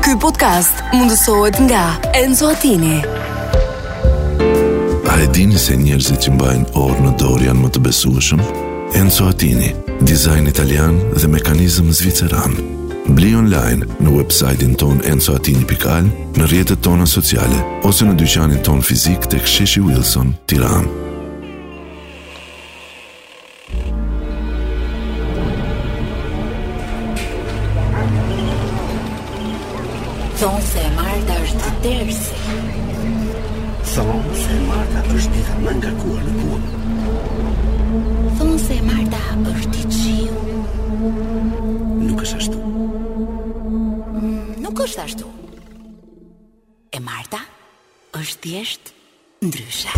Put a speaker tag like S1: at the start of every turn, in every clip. S1: Ky podcast mundësohet nga Enzo Attini.
S2: A e dini se njerëzit që mbajnë orë në dorë janë më të besueshëm? Enzo Attini, dizajn italian dhe mekanizëm zviceran. Bli online në website-in ton enzoatini.al, në rjetët tona sociale, ose në dyqanin ton fizik të ksheshi Wilson, tiran.
S3: Thonë se e Marta është tërsi
S4: Thonë se Marta është dita më nga kuar në kuar
S3: Thonë se e Marta është i qiu
S4: Nuk është ashtu
S3: Nuk është ashtu E Marta është thjesht ndryshe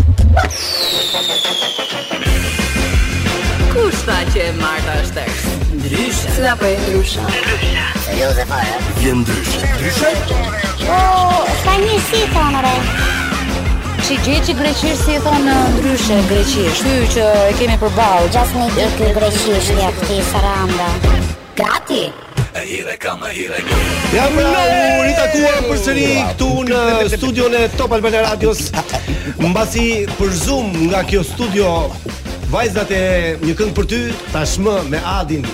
S5: Kush tha që e Marta është tërës? Ndryshe.
S1: Cila po e ndrysha?
S4: Vjen ndryshe Ndryshe?
S6: Ka një si thonë re
S7: Që gjë që greqisht si e thonë ndryshe greqisht. Ky që e kemi përballë.
S6: Gjas me di ky greqisht ja këti saranda
S3: Gati
S8: Jam nahur i takuar përsëri këtu në studion e Top Albana Radios. Mbasi për Zoom nga kjo studio vajzat e një këngë për ty tashmë me Adin,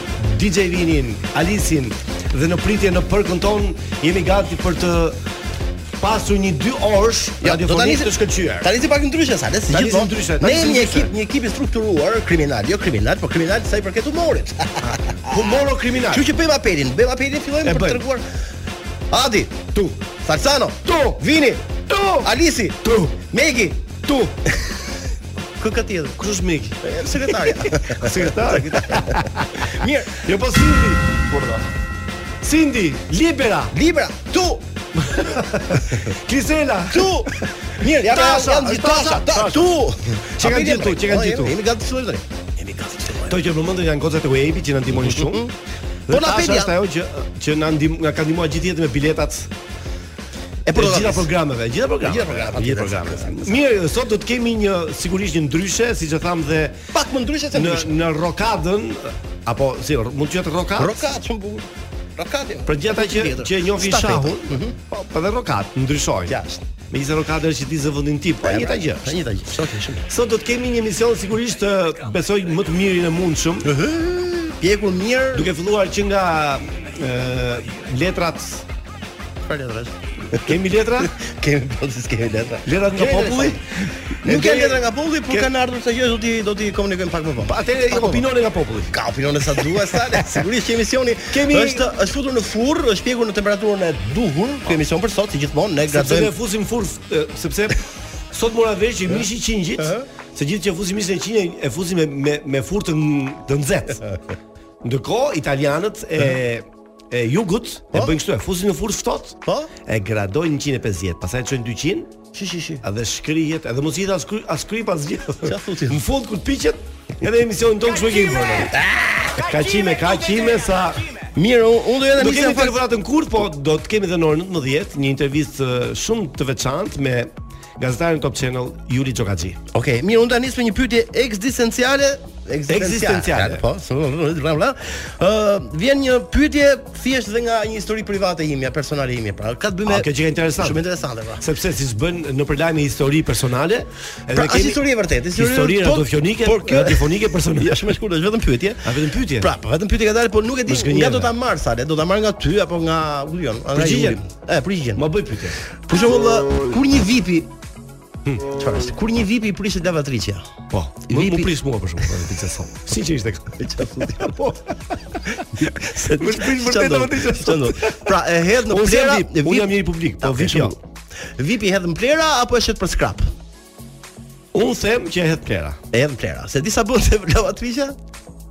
S8: DJ Vinin, Alisin dhe në pritje në përkën ton jemi gati për të pasur një dy orësh radiofonik të shkëlqyer.
S9: Tani si pak ndryshe sa, le si
S8: Tani
S9: gjithmonë.
S8: si ndryshe, tani
S9: Ne
S8: si
S9: jemi një
S8: ndryshe.
S9: ekip, një ekip i strukturuar, kriminal, jo kriminal, por kriminal sa i përket humorit.
S8: Humoro kriminal.
S9: Kështu që bëjmë apelin, bëjmë apelin
S8: E
S9: fillojmë për të
S8: bëjmë.
S9: treguar. Adi, tu, Salsano,
S8: Tu!
S9: Vini,
S8: Oh, Tu!
S9: Alisi,
S8: Tu!
S9: Megi,
S8: Tu!
S9: kë ka tjetër?
S8: Kush është Miki?
S9: E, Sekretarja.
S8: Sekretar. Mirë, jo po Sindi. Sindi, Libera,
S9: Libra, tu,
S8: Klisela.
S9: tu. Mirë, ja
S8: Tasha,
S9: jam gjithë
S8: Tasha,
S9: tasha, ta,
S8: Tasha.
S9: tu.
S8: Që kanë gjithë tu, që kanë
S9: O,
S8: gjithë tu.
S9: Jemi jemi gati të fillojmë tani. Jemi gati të fillojmë.
S8: Kto që në momentin janë gocat e Wavi që na ndihmojnë shumë. Po
S9: Po na pedi, ja.
S8: është ajo që që na ndim na ka ndihmuar gjithë jetën me biletat
S9: E
S8: e
S9: prodhova.
S8: gjitha programeve, gjitha programeve.
S9: Po, Gjitha programeve.
S8: Gjitha programeve. Mirë, sot do të kemi një sigurisht një ndryshe, siç e tham dhe
S9: Pak më ndryshe se
S8: në
S9: ndryshe.
S8: në rokadën apo si mund të jetë rokat.
S9: Rokat shumë bukur. Rokat. jo.
S8: Për gjithë ata që
S9: Tjetër. Mhm.
S8: që e njohin
S9: Stafeta.
S8: shahun, po po dhe rokat ndryshojnë.
S9: Jashtë.
S8: Megjithëse rokada është që ti zë vendin tim, po e njëjta gjë.
S9: Është njëta gjë. Sot e shumë.
S8: Sot do të kemi një emision sigurisht ë, besoj më të mirin e mundshëm,
S9: Pjekur mirë.
S8: duke filluar që nga ë letrat
S9: Çfarë letrash?
S8: Kemi letra?
S9: Kemi po si kemi letra.
S8: Letrat nga
S9: Kemi
S8: populli?
S9: Nuk
S8: Edhe-
S9: kanë letra nga populli, por
S8: Ke-
S9: kanë ardhur sa gjë do ti do ti komunikojmë pak më vonë.
S8: Atëre
S9: Pak më vonë.
S8: opinione nga populli.
S9: jo. Ka opinione sa dua sa le. Sigurisht që emisioni
S8: Kemi-
S9: është është futur në furrë, është pjekur në temperaturën e duhur. Ky emision për sot si gjithmonë ne
S8: Sepse ne
S9: gradojmë
S8: fusim furf, e, sepse sot mora vesh që mishi i qingjit, se gjithë që fusim mishin e qingjit e fusim me me, me furrë të n- të nxehtë. Ndërkohë italianët e e jugut e
S9: Po?
S8: bëjnë kështu, e fusin në furrë ftohtë.
S9: Po?
S8: E gradojnë 150, pastaj e çojnë 200
S9: Shi shi shi.
S8: edhe shkrihet, edhe mos i jeta as kry, as kryp as gjë.
S9: Çfarë thuti?
S8: Në fund kur piqet, edhe emisionin tonë kështu e kemi bërë.
S9: Ah!
S8: Ka qime, ka qime sa
S9: Mirë, unë unë do jeta
S8: Do
S9: nisem
S8: kemi
S9: fakt-
S8: telefonatën kurt, po do të kemi edhe në orën 19 një intervistë eh, shumë të veçantë me gazetarin Top Channel Juli Çokaçi.
S9: Okej, mirë, unë ta nis me një pyetje ekzistenciale,
S8: Ekzistenciale.
S9: Po, s- bla bla. Ë, vjen një pyetje thjesht dhe nga një histori private imja, personale imja, pra. Ka të bëjë me
S8: A, kjo gjë e interesante.
S9: Shumë interesante, pra.
S8: Sepse siç bën në përlajme histori personale, edhe
S9: Pra, është histori e vërtetë, histori-
S8: histori
S9: po-
S8: radiofonike,
S9: por kjo-
S8: radiofonike personale.
S9: Ja shumë e shkurtër, është vetëm pyetje.
S8: A vetëm pyetje?
S9: Pra, po vetëm pyetje ka dalë, por nuk e di
S8: Më shkënjen,
S9: nga do
S8: me.
S9: ta marr sa, le, do ta marr nga ty apo nga, ku diun, nga
S8: Përgjigjen.
S9: Juri. E, përgjigjen.
S8: Ma bëj pyetje. Hm.
S9: Për shembull, ë, kur një vipi Çfarë? është? Kur një vipi i prishet lavatriçja.
S8: Po, më
S9: Vipi-
S8: më pris mua për shkak të pizza son. Si që ishte kjo?
S9: Po. Se
S8: Më shprin vërtet
S9: çfarë do?
S8: lavatriçja sot.
S9: Çfarë do? Pra e hedh në
S8: Unë
S9: plera,
S8: jam vip,
S9: e vip-
S8: unë jam njëri publik, po
S9: Ah,
S8: vip
S9: shumë
S8: jo.
S9: bukur. Vipi hedh në plera apo e shet për skrap?
S8: Unë them që e hedh plera.
S9: E hedh në plera. Se disa bën se lavatriçja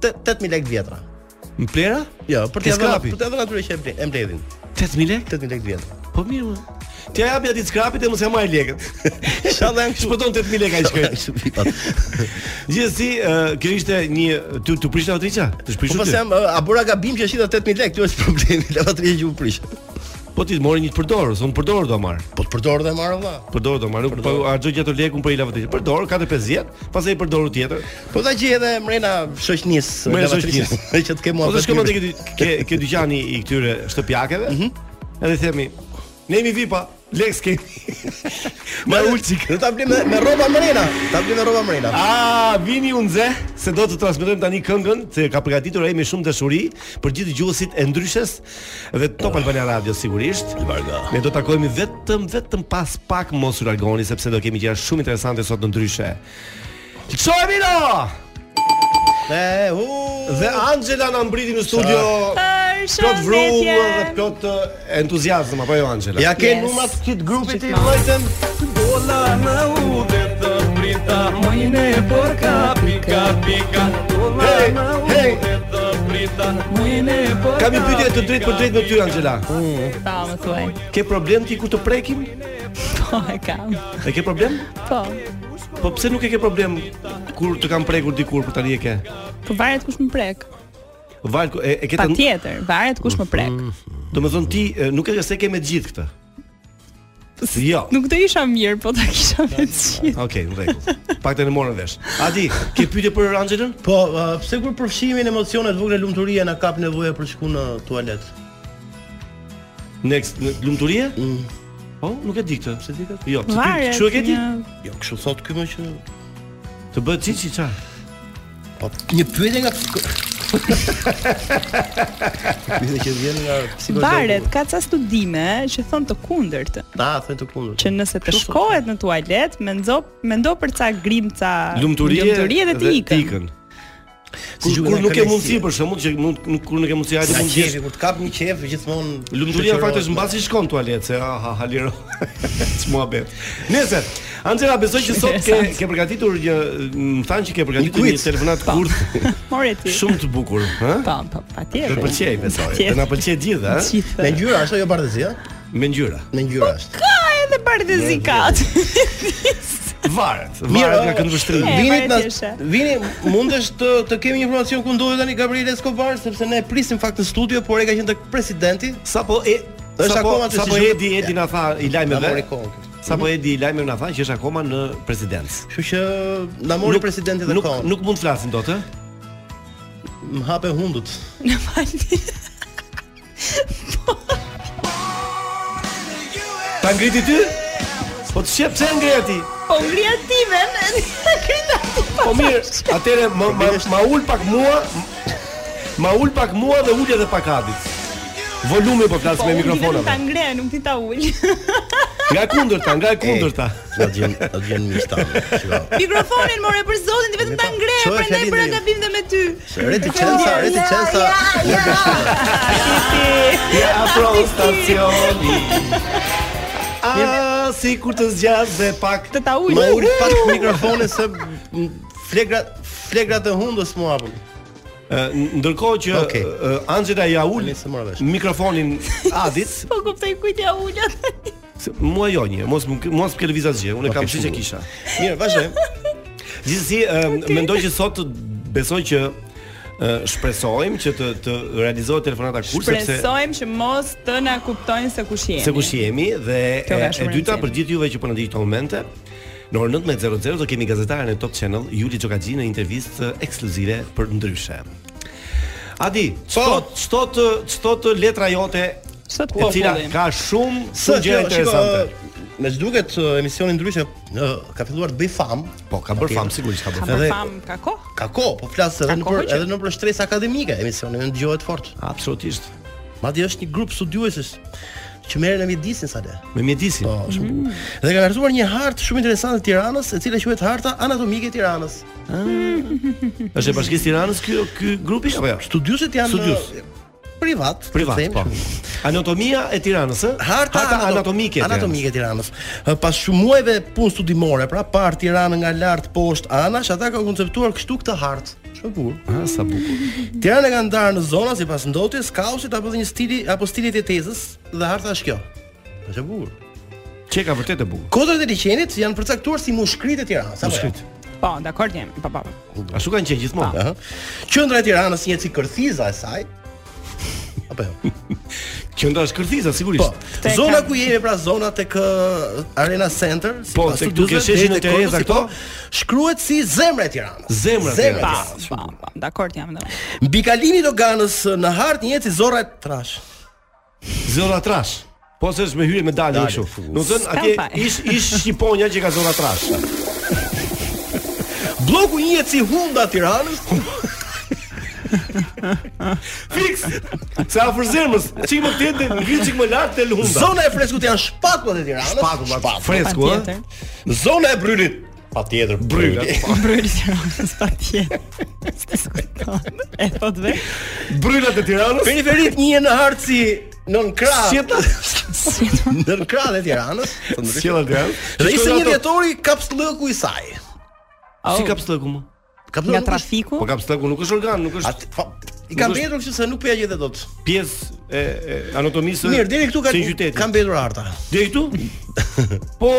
S9: te- 8000 lekë vjetra.
S8: Në plera?
S9: Jo, për
S8: Ke
S9: të dhënë
S8: skrapi?
S9: për të dhënë atyre që e ble- e mbledhin.
S8: 8000 lekë?
S9: 8000 lekë vjetra.
S8: Po mirë. më. Ti ja japi atë skrapit e mos ja marr lekët.
S9: Inshallah janë kështu.
S8: Shpëton 8000 lekë ai shkoj.
S9: Kështu vipat.
S8: Gjithsesi, ë, kjo ishte një ty tu prish lavatriça? Të
S9: Po
S8: prishu
S9: pas
S8: ti.
S9: jam ë, a bëra gabim që shita 8000 lekë, kjo është problemi lavatriçja që u prish.
S8: Po ti mori një të përdorur, unë përdorur do marr.
S9: Po të përdor dhe marr valla.
S8: Përdorur do marr, nuk po harxoj gjatë lekun për i lavatriçë. Përdor 450, pastaj i përdoru tjetër.
S9: Po ta gjej edhe mrena shoqnisë,
S8: Mrena
S9: lavatriçja,
S8: shoqnisë.
S9: që të kemë
S8: Po të shkojmë te ke ke dyqani i këtyre shtëpiakeve. Edhe i themi, Ne jemi vipa, Lex kemi. Ma ulçi.
S9: Do ta blej me, me rroba mrena. Ta blej me rroba mrena.
S8: A vini unze se do të transmetojmë tani këngën se ka përgatitur ai me shumë dashuri për gjithë dëgjuesit e ndryshes dhe Top Albania Radio sigurisht.
S9: Varga.
S8: Ne do takohemi vetëm vetëm pas pak mos u largoni sepse do kemi gjëra shumë interesante sot në ndryshe. Lçohemi no!
S9: E u
S8: Dhe Angela na mbriti në studio plot vrum dhe plot eh, entuziazëm apo jo Angela?
S9: Ja ke
S10: Yes.
S9: numrat kit grupit i vëllëzën.
S11: Bola në ude të prita Mojne
S8: po,
S11: për ka pika pika Bola
S8: Hey,
S11: në
S8: hey.
S11: ude të prita Mojne për
S8: Kam një pyetje të drejtë për drejtë me ty Angela.
S12: Pa, Po, më thuaj.
S8: Ke problem ti kur të prekim?
S12: Po, e kam.
S8: E ke problem?
S12: Po.
S8: Po pse nuk e ke problem kur të kam prekur dikur për tani e ke?
S12: Po varet kush më prek.
S8: Val, e, e ke të...
S12: Patjetër, varet kush më prek.
S8: Mm. Do me thonë ti, e, nuk e se ke me gjithë këtë. Jo.
S12: Nuk do isha mirë, po ta kisha me të gjithë.
S8: Okej, në rregull. Pak të në morën vesh. Adi, ke pyetje për Angelën?
S9: Po, uh, pse kur përfshimin emocionet vogla lumturia na kap nevoja për shku në tualet.
S8: Next, në lumturie?
S9: Mm.
S8: Po, nuk e di këtë. Pse di këtë? Jo, pse ti
S12: Varet.
S8: çu e ke ti?
S12: një-
S9: Jo, kështu thot ky më që
S8: Të bëhet çiçi ça?
S9: Po, një pyetje nga Pyetje që vjen nga
S12: Varet, ka ca studime që thonë të kundërt,
S9: Ta, thënë të kundër.
S12: që nëse të shkohet në tualet, mendo mendo për ca grim, ca
S8: Lumturie.
S12: lumturie dhe të ikën.
S8: Kur,
S9: Si
S8: kur
S9: gjuhën e
S8: nuk e
S9: kalesi.
S8: mundsi për shembull që mund nuk- kur nuk e mundsi hajde
S9: Sa
S8: mund
S9: qefi,
S8: të
S9: kur të kap një qef gjithmonë
S8: Lumturia në fakt
S9: shoqërohet po.
S8: është
S9: me-
S8: mbasi shkon në tualet se aha haliro. Çmuhabet. Nëse Angela besoj që sot ke ke përgatitur një më thanë që ke
S9: Një
S8: përgatitur një,
S9: quiz.
S8: telefonat kurth
S12: More ti.
S8: shumë të bukur, ë?
S12: Po, po,
S8: Do të
S12: patjetër.
S8: pëlqej besoj.
S12: Patjetër.
S8: Do na pëlqej gjithë, ë?
S12: Gjithë.
S9: Me ngjyra është ajo bardhëzi, ë?
S8: Me ngjyra.
S9: Me
S12: Po.
S9: ngjyra është.
S12: Ka Ah, edhe partezikat.
S8: Varet, varet nga këndvështrimi.
S12: E,
S9: Vini na
S12: varetjeshe.
S9: vini mundesh të të kemi një informacion ku ndodhet tani Gabriel Escobar sepse ne e prisim fakt në studio, por e ka qenë tek presidenti.
S8: Sapo e
S9: Është
S8: sapo-
S9: akoma të
S8: sapo
S9: si-
S8: Edi Edi na tha i lajme
S9: Na mori
S8: dhe.
S9: kohën. kjo.
S8: Sapo Edi i lajme na tha që është akoma në presidencë.
S9: Kështu që na mori presidenti dhe
S8: nuk,
S9: kohën.
S8: nuk mund të flasim dot, ë?
S9: Më hape hundut.
S12: Në falni.
S8: Ta ngriti ty? Po të shep pse ngre ti?
S12: Po ngri atimen, e krita ti pa.
S8: Po mirë, atëre ma, ma, ma ul pak mua, ma ul pak mua dhe ul edhe pak Adit. Volumi po flas me
S12: Ta
S8: mikrofonave.
S12: ngre, nuk ti ta ul.
S8: Nga e kundërta, nga e kundërta.
S9: Na gjen, na gjen miq tan.
S12: Mikrofonin more për zotin, ti vetëm ta ngre,
S9: Çfarë
S12: prandaj
S9: fjalin
S12: bëra
S9: dhe ju?
S12: gabim dhe me ty.
S9: Reticenca, reticenca.
S8: Ja afro stacioni. A si kur të zgjas dhe pak
S12: Të ta ul.
S9: Ma ul pak mikrofonin se m, flegrat flegrat e hundës mua hapën.
S8: Ë, Ndërkohë që
S9: Okej.
S8: ë, Angela ja ul
S9: Tani se mora vesh.
S8: mikrofonin Adit,
S12: Po kuptoj kujt ja ul atë.
S8: se- mua jo një, mos më- mos më ke lëviz asgjë, unë e kam siç e kisha.
S9: Mirë, vazhdojmë.
S8: Gjithsesi, ë, mendoj që sot besoj që ë, shpresojmë që të të realizohet telefonata kur sepse
S12: Presojmë që mos të na kuptojnë se kush jemi.
S8: se kush jemi dhe
S12: Kjo
S8: e,
S12: ka
S8: e
S12: shumë
S8: dyta
S12: rëndësi.
S8: për gjithë juve që po na ndiqni këto momente Në orën 19:00 do kemi gazetaren e Top Channel Juli Xhokaxhi në intervistë ekskluzive për ndryshe. Adi, çtot çtot çtot letra jote
S12: Sot
S8: e
S12: ku
S8: cila
S12: fullim.
S8: ka shumë
S9: Së jo,
S8: shumë gjëra interesante.
S9: Me ç'duket ë, emisioni ndryshe ë, ka filluar të bëj fam.
S8: Po, ka bërë famë sigurisht ka
S12: Ka
S8: bërë.
S12: për
S9: Edhe-
S12: fam ka kohë.
S9: Ka kohë, po flas edhe
S12: Ka
S9: në
S12: kohë
S9: për,
S12: që-
S9: edhe në për stres akademike, emisioni në dëgjohet fort.
S8: famë. Absolutisht.
S9: Madje është një grup studiuesës që merren me mjedisin sa le.
S8: Me mjedisin.
S9: Po,
S12: Mhm.
S9: shumë. Dhe kanë hartuar një hartë shumë interesante të Tiranës, e cila quhet Harta Anatomike e Tiranës.
S8: Është e Bashkisë Tiranës ky ky grupi apo jo?
S9: Studiuesët janë
S8: Studius.
S9: ë, privat, të
S8: Privat,
S9: them.
S8: po. Anatomia e Tiranës, ë?
S9: Harta, anato-
S8: anatomike. e Tiranës.
S9: Anatomike e Tiranës. Ë, Pas shumë muajve punë studimore, pra par Tiranën nga lart poshtë anash, ata kanë konceptuar kështu këtë hartë. Shumë bukur.
S8: Ah, sa bukur.
S9: Tirana ka ndarë në zona sipas ndotjes, kaosit apo dhe një stili apo stilit të tezës dhe harta është kjo. Është e bukur.
S8: Çe ka vërtet e bukur.
S9: Kodrat e liçenit janë përcaktuar si mushkritë e Tiranës. apo
S8: Mushkrit.
S12: Po, dakord jemi. Po, po. po.
S8: Ashtu kanë qenë gjithmonë.
S9: jo? Aha. Qendra e Tiranës një si kërthiza e saj. Apo jo.
S8: Qendra është kërthiza
S9: Po.
S8: sigurisht.
S12: Te
S9: Zona
S12: kam-
S9: ku jemi pra zona tek ë, Arena Center, si
S8: Po,
S9: pas
S8: tek duke
S9: studiozve,
S8: sheshin
S9: deri
S8: e
S9: tek Kodrës,
S8: Tereza
S9: si
S8: këto?
S9: po, shkruhet si zemra e Tiranës.
S8: Zemra e
S9: Zemra
S12: Po,
S8: Tiranës.
S12: po, po. Dakord jam domethënë.
S9: Mbi kalimin e Doganës në hartë njëhet si zorra e trash.
S8: Zona trash. Po se është me hyrje me dalje
S2: Dalje,
S8: kështu.
S2: fuh.
S8: Do të thënë, atje ish ish shqiponja që ka zona trash. Bloku njihet si hunda e Tiranës. Fiks. Sa afër zemrës, çik më tente, ngrit çik më lart te hunda.
S9: Zona e freskut janë shpatullat e Tiranës.
S8: Shpatullat, fresku, ë? Patjetër.
S9: Zona e brylit. Patjetër bryli.
S12: Bryli Tiranës patjetër. E thot vetë.
S8: Brylat e Tiranës.
S9: Periferit një në hartë si nën krah.
S8: Sjeta.
S9: Nën krah e Tiranës.
S8: Sjella e Tiranës.
S9: Dhe ishte
S8: Shkoj
S9: një
S8: ato-
S9: vjetori kapslëku i saj.
S8: Si kapslëku më?
S9: Kapslëku
S12: Oh,
S9: po,
S12: Nga trafiku?
S8: Po kapslëku nuk është organ, nuk është.
S9: I ka mbetur kështu se nuk po ja gjetë dot.
S8: pjesë e, e anatomisë.
S9: Mirë, deri këtu ka
S8: së qytetit.
S9: ka mbetur harta.
S8: Deri këtu? po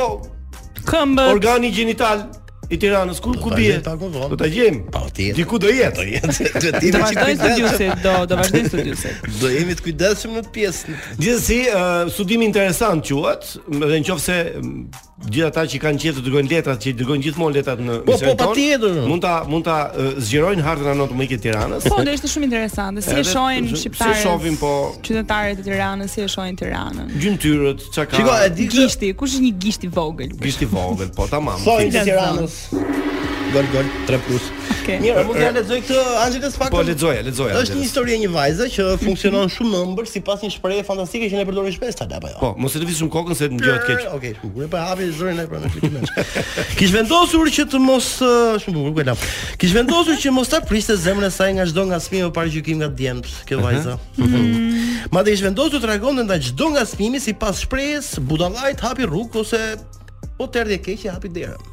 S12: këmbët.
S8: Organi gjinital i Tiranës ku ku
S9: ta
S8: bie?
S9: gjejmë, ta po. kupton.
S8: Do ta gjejmë. Diku do jetë.
S9: Do jetë. Duhet
S12: Do vazhdojnë studiusit, do do vazhdojnë studiusit.
S9: Do jemi të kujdesshëm në pjesën.
S8: Gjithsesi, ë, studim interesant quhet, m, dhe nëse m, gjithë ata që kanë qejf të dërgojnë letrat, që i dërgojnë gjithmonë letrat në
S9: Po,
S8: misionin
S9: po,
S8: ton,
S9: patjetër.
S8: Mund ta mund ta ë, zgjerojnë hartën anatomike të Tiranës.
S12: Po, do ishte shumë interesante. Si e
S8: Edhe-
S12: shohin
S8: si e
S12: shqiptarët?
S8: shohin, po-
S12: qytetarët e Tiranës si e shohin Tiranën?
S8: Gjymtyrët, çka ka?
S9: Shiko, e di që
S12: Gishti, kush është një gisht i vogël?
S8: Gishti vogël, po tamam.
S9: Thonjë të Tiranës. Gol gol 3 plus.
S12: Okej.
S9: Mirë, mund t'ja lexoj këtë Angeles pak.
S8: Er, Po lexoja, lexoja.
S9: Është një histori e një vajze që funksionon shumë ëmbël sipas një shprehje fantastike që ne përdorim shpesh ta apo jo.
S8: Po, mos e lëviz shumë kokën se ngjohet keq.
S9: Okej, shumë bukur. Po hapi zërin ai pranë fitimesh. Kish vendosur që të mos ë, shumë bukur këla. Kish vendosur që mos ta priste zemrën e saj nga çdo ngasmim o paraqykim nga djemt,
S8: Mhm.
S9: kjo vajza. Madje ish vendosur të reagonte ndaj çdo ngasmimi sipas shprehjes budallajt hapi rrugë ose po të erdhi e keq e hapi derën.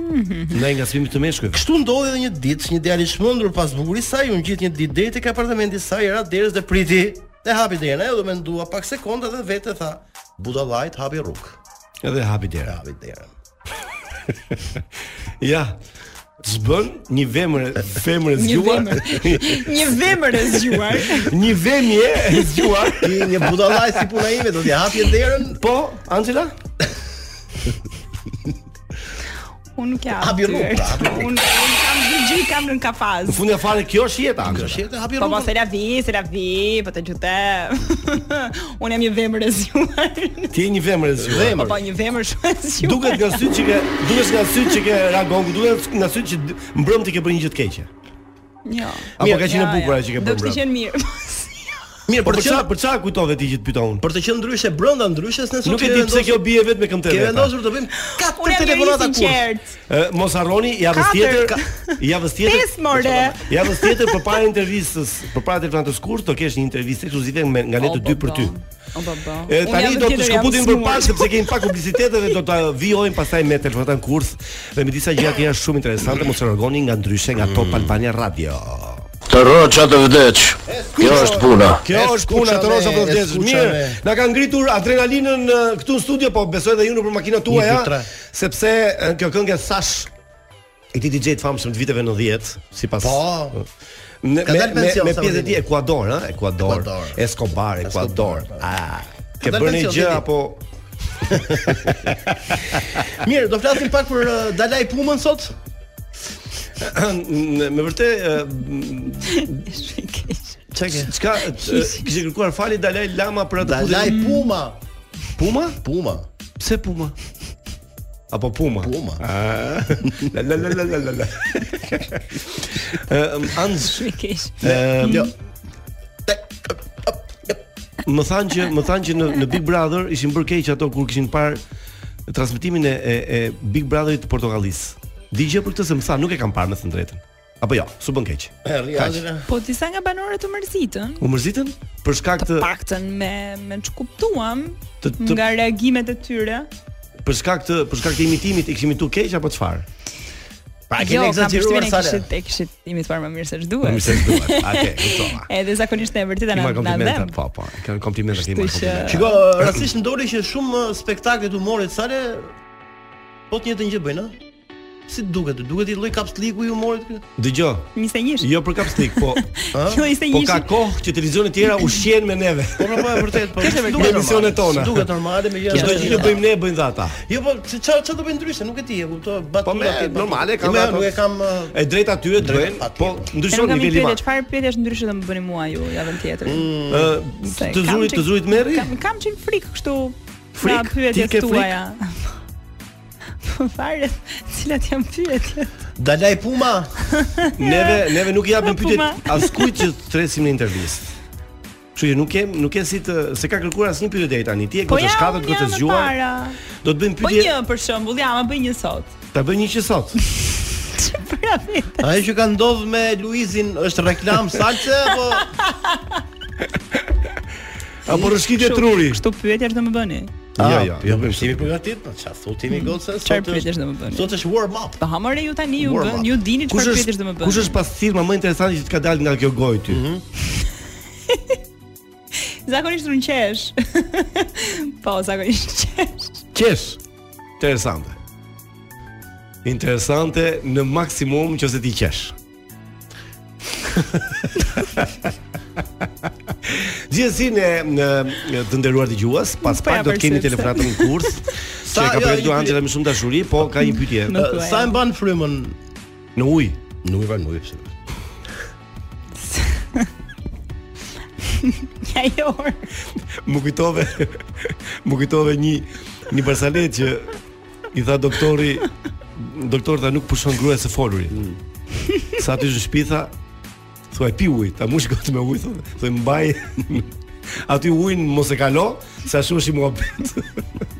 S8: Ndaj nga svimi të meshkujve.
S9: Kështu ndodhi edhe një ditë, që një djalë i shmendur pas bukurisë saj u ngjit një ditë deri tek apartamenti i saj, ra derës dhe priti. E hapi derën, ajo do mendua pak sekonda dhe vetë tha, budallajt hapi rrugë.
S8: Edhe hapi dera.
S9: Hapi derën.
S8: Ja. Zbën një vemër, femër e zgjuar.
S12: Një vemër e zgjuar.
S8: Një vemje e zgjuar.
S9: Ti një budallaj si puna ime do t'i hapje derën,
S8: Po, Angela?
S12: Unë nuk jam.
S9: Hapi rrugë, pra, hapi
S12: Unë unë kam gjigji, kam në kafaz.
S8: Në fund e fare kjo është jeta,
S9: kjo
S8: Angela.
S9: shjetë hapi
S12: Po po
S9: rrugën.
S12: se la vi, se la vi, po të gjute. Unë jam një vemër e zgjuar.
S8: Ti je një vemër e zgjuar.
S12: Po po një vemër shumë e zgjuar.
S8: Duket nga syt që ke, duket nga syt që ke ragon, duket nga syt që d- mbrëmë ti ke bërë një gjë të keqe.
S12: Jo.
S8: Apo ka qenë e bukur ajo që ke
S12: Do
S8: bërë
S12: të
S8: mbrëmë.
S12: qenë mirë.
S9: Mirë,
S8: Po
S9: për
S8: për
S9: të
S8: çfarë
S9: qenë
S8: për çfarë kujtove ti që të pyeta unë?
S9: për të qenë ndryshe brenda ndryshës ne sot
S8: Nuk e
S9: kemi
S8: di pse
S9: vendosur-
S8: kjo bie vetëm me këmbë të
S9: kemi
S8: veta.
S9: vendosur të bëjmë katër
S12: Unë jam një
S9: telefonata kur.
S12: sinqert.
S8: Ë, Mos harroni, javës
S12: Katër.
S8: tjetër, javës tjetër.
S12: Pesë, more.
S8: Javës tjetër përpara intervistës, përpara telefonatës kurt, do kesh një intervistë ekskluzive me nga ne të dy për ty.
S12: O po po.
S8: E, tani do të shkëputim për pak sepse kemi pak publicitete dhe do ta vijojmë pastaj me telefonata në kurs dhe me disa gjëra tjera shumë interesante mos e largoni nga ndryshe nga Top Albania Radio.
S2: Të roqa të vdeq. Kjo është puna.
S8: Kjo
S9: E
S8: është puna
S9: skuqa
S8: të Roza
S9: me,
S8: po
S9: e
S8: vdes.
S9: skuqa
S8: Mirë,
S9: me.
S8: na ka ngritur adrenalinën e, këtu në studio, po besoj edhe ju nëpër makinat
S9: Një,
S8: tuaja,
S9: dy, tre.
S8: sepse e, kjo këngë e Sash e këtij DJ të famshëm të viteve 90, sipas
S9: Po.
S8: Me
S9: Ka
S8: me
S9: dalë
S8: me,
S9: pension,
S8: me
S9: sa
S8: pjesën e
S9: vjen.
S8: tij Ekuador, ëh, Ekuador.
S9: Ekuador.
S8: Escobar, Ekuador. Ah. Ke
S9: Ka dalë
S8: bërë një
S9: pension,
S8: gjë
S9: Didi.
S8: apo
S9: Mirë, do flasim pak për uh, Dalaj Pumën sot.
S8: Në- me vërtet ë, m-
S9: Çka ke?
S8: çka ë, kishte kërkuar fali Dalai Lama për atë
S9: Dalaj
S8: putin-
S9: Puma.
S8: Puma?
S9: Puma.
S8: Pse Puma? Apo Puma?
S9: Puma.
S8: Ah, La la la la la la la. Ëm Anz, ëm,
S9: Jo.
S8: më thanë që më thanë që në në Big Brother ishin bërë keq ato kur kishin parë transmetimin e e, e Big Brotherit të Portokallis. Di gjë për këtë se më tha, nuk e kam parë me të drejtën. Apo jo, su bën keq.
S9: Rriadina.
S12: Po disa nga banorët u mërzitën.
S8: U mërzitën për shkak të
S12: Paktën me me çkuptuam
S8: të, të
S12: nga reagimet e tyre.
S8: për shkak të për shkak të imitimit i kishim imitu keq apo çfarë?
S9: Pra
S12: Jo,
S9: keni
S12: kam
S9: egzageruar
S12: përshtypjen e
S9: sa le.
S12: kishit e kishit imituar më mirë se
S8: Po
S12: ç'duhet.
S8: mirë se duhet. Atë, kuptova.
S12: Edhe zakonisht e vërteta
S8: Ti
S12: na
S8: marr
S12: na
S8: komplimente,
S12: dhem.
S8: po po. Kanë komplimente ti marr
S12: Kështu që-
S8: komplimente.
S9: Shiko, rastisht më doli që shumë uh, spektakle të humorit sale po të njëjtën gjë bëjnë, ë? Si duket? ty? Duket i lloj kapsliku i humorit Po, ky?
S8: Dëgjoj.
S12: 21.
S8: Jo për kapslik, po. ë?
S12: Jo, 21.
S8: Po ka kohë që televizionet tjera ushqen me neve.
S9: Po po po, e vërtet, po.
S8: Kjo është duket emisionet tona.
S9: Duket normale me
S8: Çdo gjë që bëjmë ne bëjnë dhe ata.
S9: Jo po, se çfarë çfarë do bëjnë ndryshe, nuk e di, e kuptoj.
S8: Po me normale kam
S9: ato.
S8: ato.
S9: Jo, Nuk e kam
S8: E drejt aty e bëjnë, po ndryshon niveli
S12: niveli
S8: i
S12: ma.
S8: madh.
S12: Çfarë pyetje është ndryshe do më bëni mua ju javën tjetër?
S8: Mm. Ë,
S12: Se
S8: të
S12: kam
S8: zurit,
S12: qik-
S8: të zurit merri?
S12: Kam kam çim frik kështu.
S8: Frik?
S12: nga
S8: Ti ke
S12: pyetjet
S8: frik?
S12: tuaja. Po fare, cilat janë pyetjet?
S9: Dalaj Puma.
S8: Neve neve nuk i japim
S12: Po,
S8: pyetje
S12: ma.
S8: askujt që të tresim në intervistë. Kështu që nuk kem nuk ke si të se ka kërkuar asnjë pyetje deri tani. Ti e
S12: Po
S8: gocë
S12: ja,
S8: shkatët,
S12: unë
S8: gocë
S12: jam e
S8: zgjuar.
S12: para.
S8: Do të bëjmë
S12: Po
S8: pyetje,
S12: një për shembull, ja, ma bëj një sot.
S8: ta bëj një që sot.
S9: Ajo që ka ndodhur me Luizin është reklam salse apo
S8: Apo rëshkitje
S12: Kështu-
S8: truri.
S12: Kështu pyetje është do më bëni.
S8: Jo, jo,
S9: jo,
S8: jo,
S9: bëjmë shtimi përgatit, po çfarë thotimi gocë?
S12: Çfarë pyetjesh do më bëni?
S9: Sot është warm up.
S12: Po hamore ju tani ju
S8: Warm
S12: bën,
S8: up.
S12: ju dini
S8: Kush
S12: çfarë pyetjesh do më
S8: është
S12: bëni.
S8: kush është pastirma më interesante që të ka dalë nga kjo gojë ty?
S12: Zakonisht unë qesh. po, zakonisht qesh.
S8: Qesh. Interesante. Interesante në maksimum nëse ti qesh. Gjithsesi ne në, në të nderuar dëgjues, pas
S12: Po ja
S8: pak do të kemi
S12: përsëris.
S8: telefonatën në kurs, që
S9: Sa-
S8: ka
S9: jo,
S8: përjetuar
S9: një
S8: Angela me shumë dashuri, po ka një pyetje
S12: Nuk
S9: Ë, Sa e mban frymën?
S8: në ujë.
S9: Nuk e mban ujë.
S12: Ja jo.
S8: Më kujtove, më kujtove një një barsalet që i tha doktori, doktori tha nuk pushon gruaja së foluri. Sa aty në shtëpi tha, thuaj pi ujë, ta mush gotë me ujë, thonë, thuaj mbaj aty ujin mos e kalo, se ashtu është i muhabet.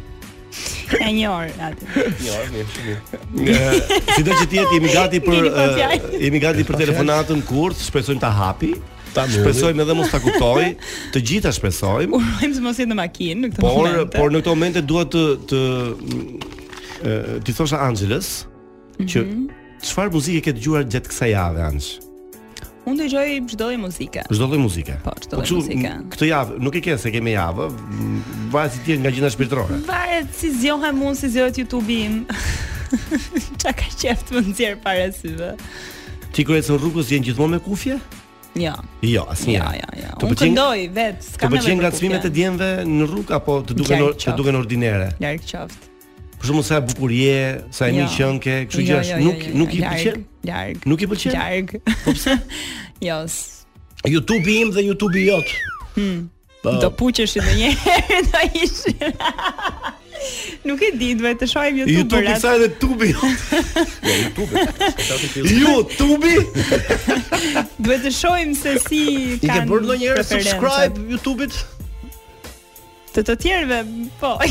S12: Ja një orë atë.
S9: Jo, mirë, shumë mirë.
S8: Ë, Sido që ti jetë jemi gati për
S12: Jeni pa
S8: ë,
S12: fjalë.
S8: jemi gati për telefonatën kurt, shpresojmë ta hapi.
S9: Ta mbylli.
S8: Shpresojmë edhe mos ta kuptoj, të gjitha shpresojmë.
S12: Urojmë se mos jetë në makinë në këtë
S8: Por
S12: moment.
S8: por në këtë momente dua të të mm, e, ti thosha Angeles
S12: Mhm.
S8: që çfarë muzike ke dëgjuar gjatë kësaj jave Anx?
S12: unë dëgjoj çdo lloj muzike.
S8: Çdo lloj muzike.
S12: Po, çdo lloj
S8: kështu,
S12: muzike.
S8: m, Këtë javë nuk e ke se kemi javë, m, vajzi ti nga gjëra shpirtërore.
S12: Mhm. Varet si zgjohem unë, si zgjohet YouTube-i im. Qa ka qef të më nxjerr para syve.
S8: Ti kur ecën rrugës je gjithmonë me kufje?
S12: Jo,
S8: Jo, asnjë.
S12: jo, jo, jo.
S8: Të
S12: Unë
S8: pëlqen
S12: këndoj vetë,
S8: të
S12: s'kam
S8: pëlqen
S12: nevojë për
S8: ngacmimet e
S12: kufje.
S8: djemve në rrugë apo të duken
S12: Qartë,
S8: or- të
S12: qartë.
S8: duken ordinere?
S12: Larg qoftë.
S8: Për shembull sa e bukur je, sa e
S12: Jo.
S8: mirë qen ke, kështu
S12: Jo,
S8: gjë
S12: jo,
S8: është,
S12: jo,
S8: nuk
S12: jo,
S8: nuk i
S12: larg,
S8: pëlqen.
S12: Larg.
S8: Nuk i pëlqen?
S12: Larg. Po pse? Jo. s-
S9: YouTube-i im dhe YouTube-i jot.
S8: Oh.
S9: Po.
S12: Do puqesh edhe një herë do ish. Nuk e di, duhet të shohim
S8: YouTube i
S12: YouTube-rat.
S8: kësaj dhe tubi. YouTube. YouTube.
S12: Duhet të shohim se si
S9: I ke
S12: kanë
S9: bërë ndonjëherë
S12: preferencat.
S9: subscribe YouTube-it?
S12: Të të tjerëve, po.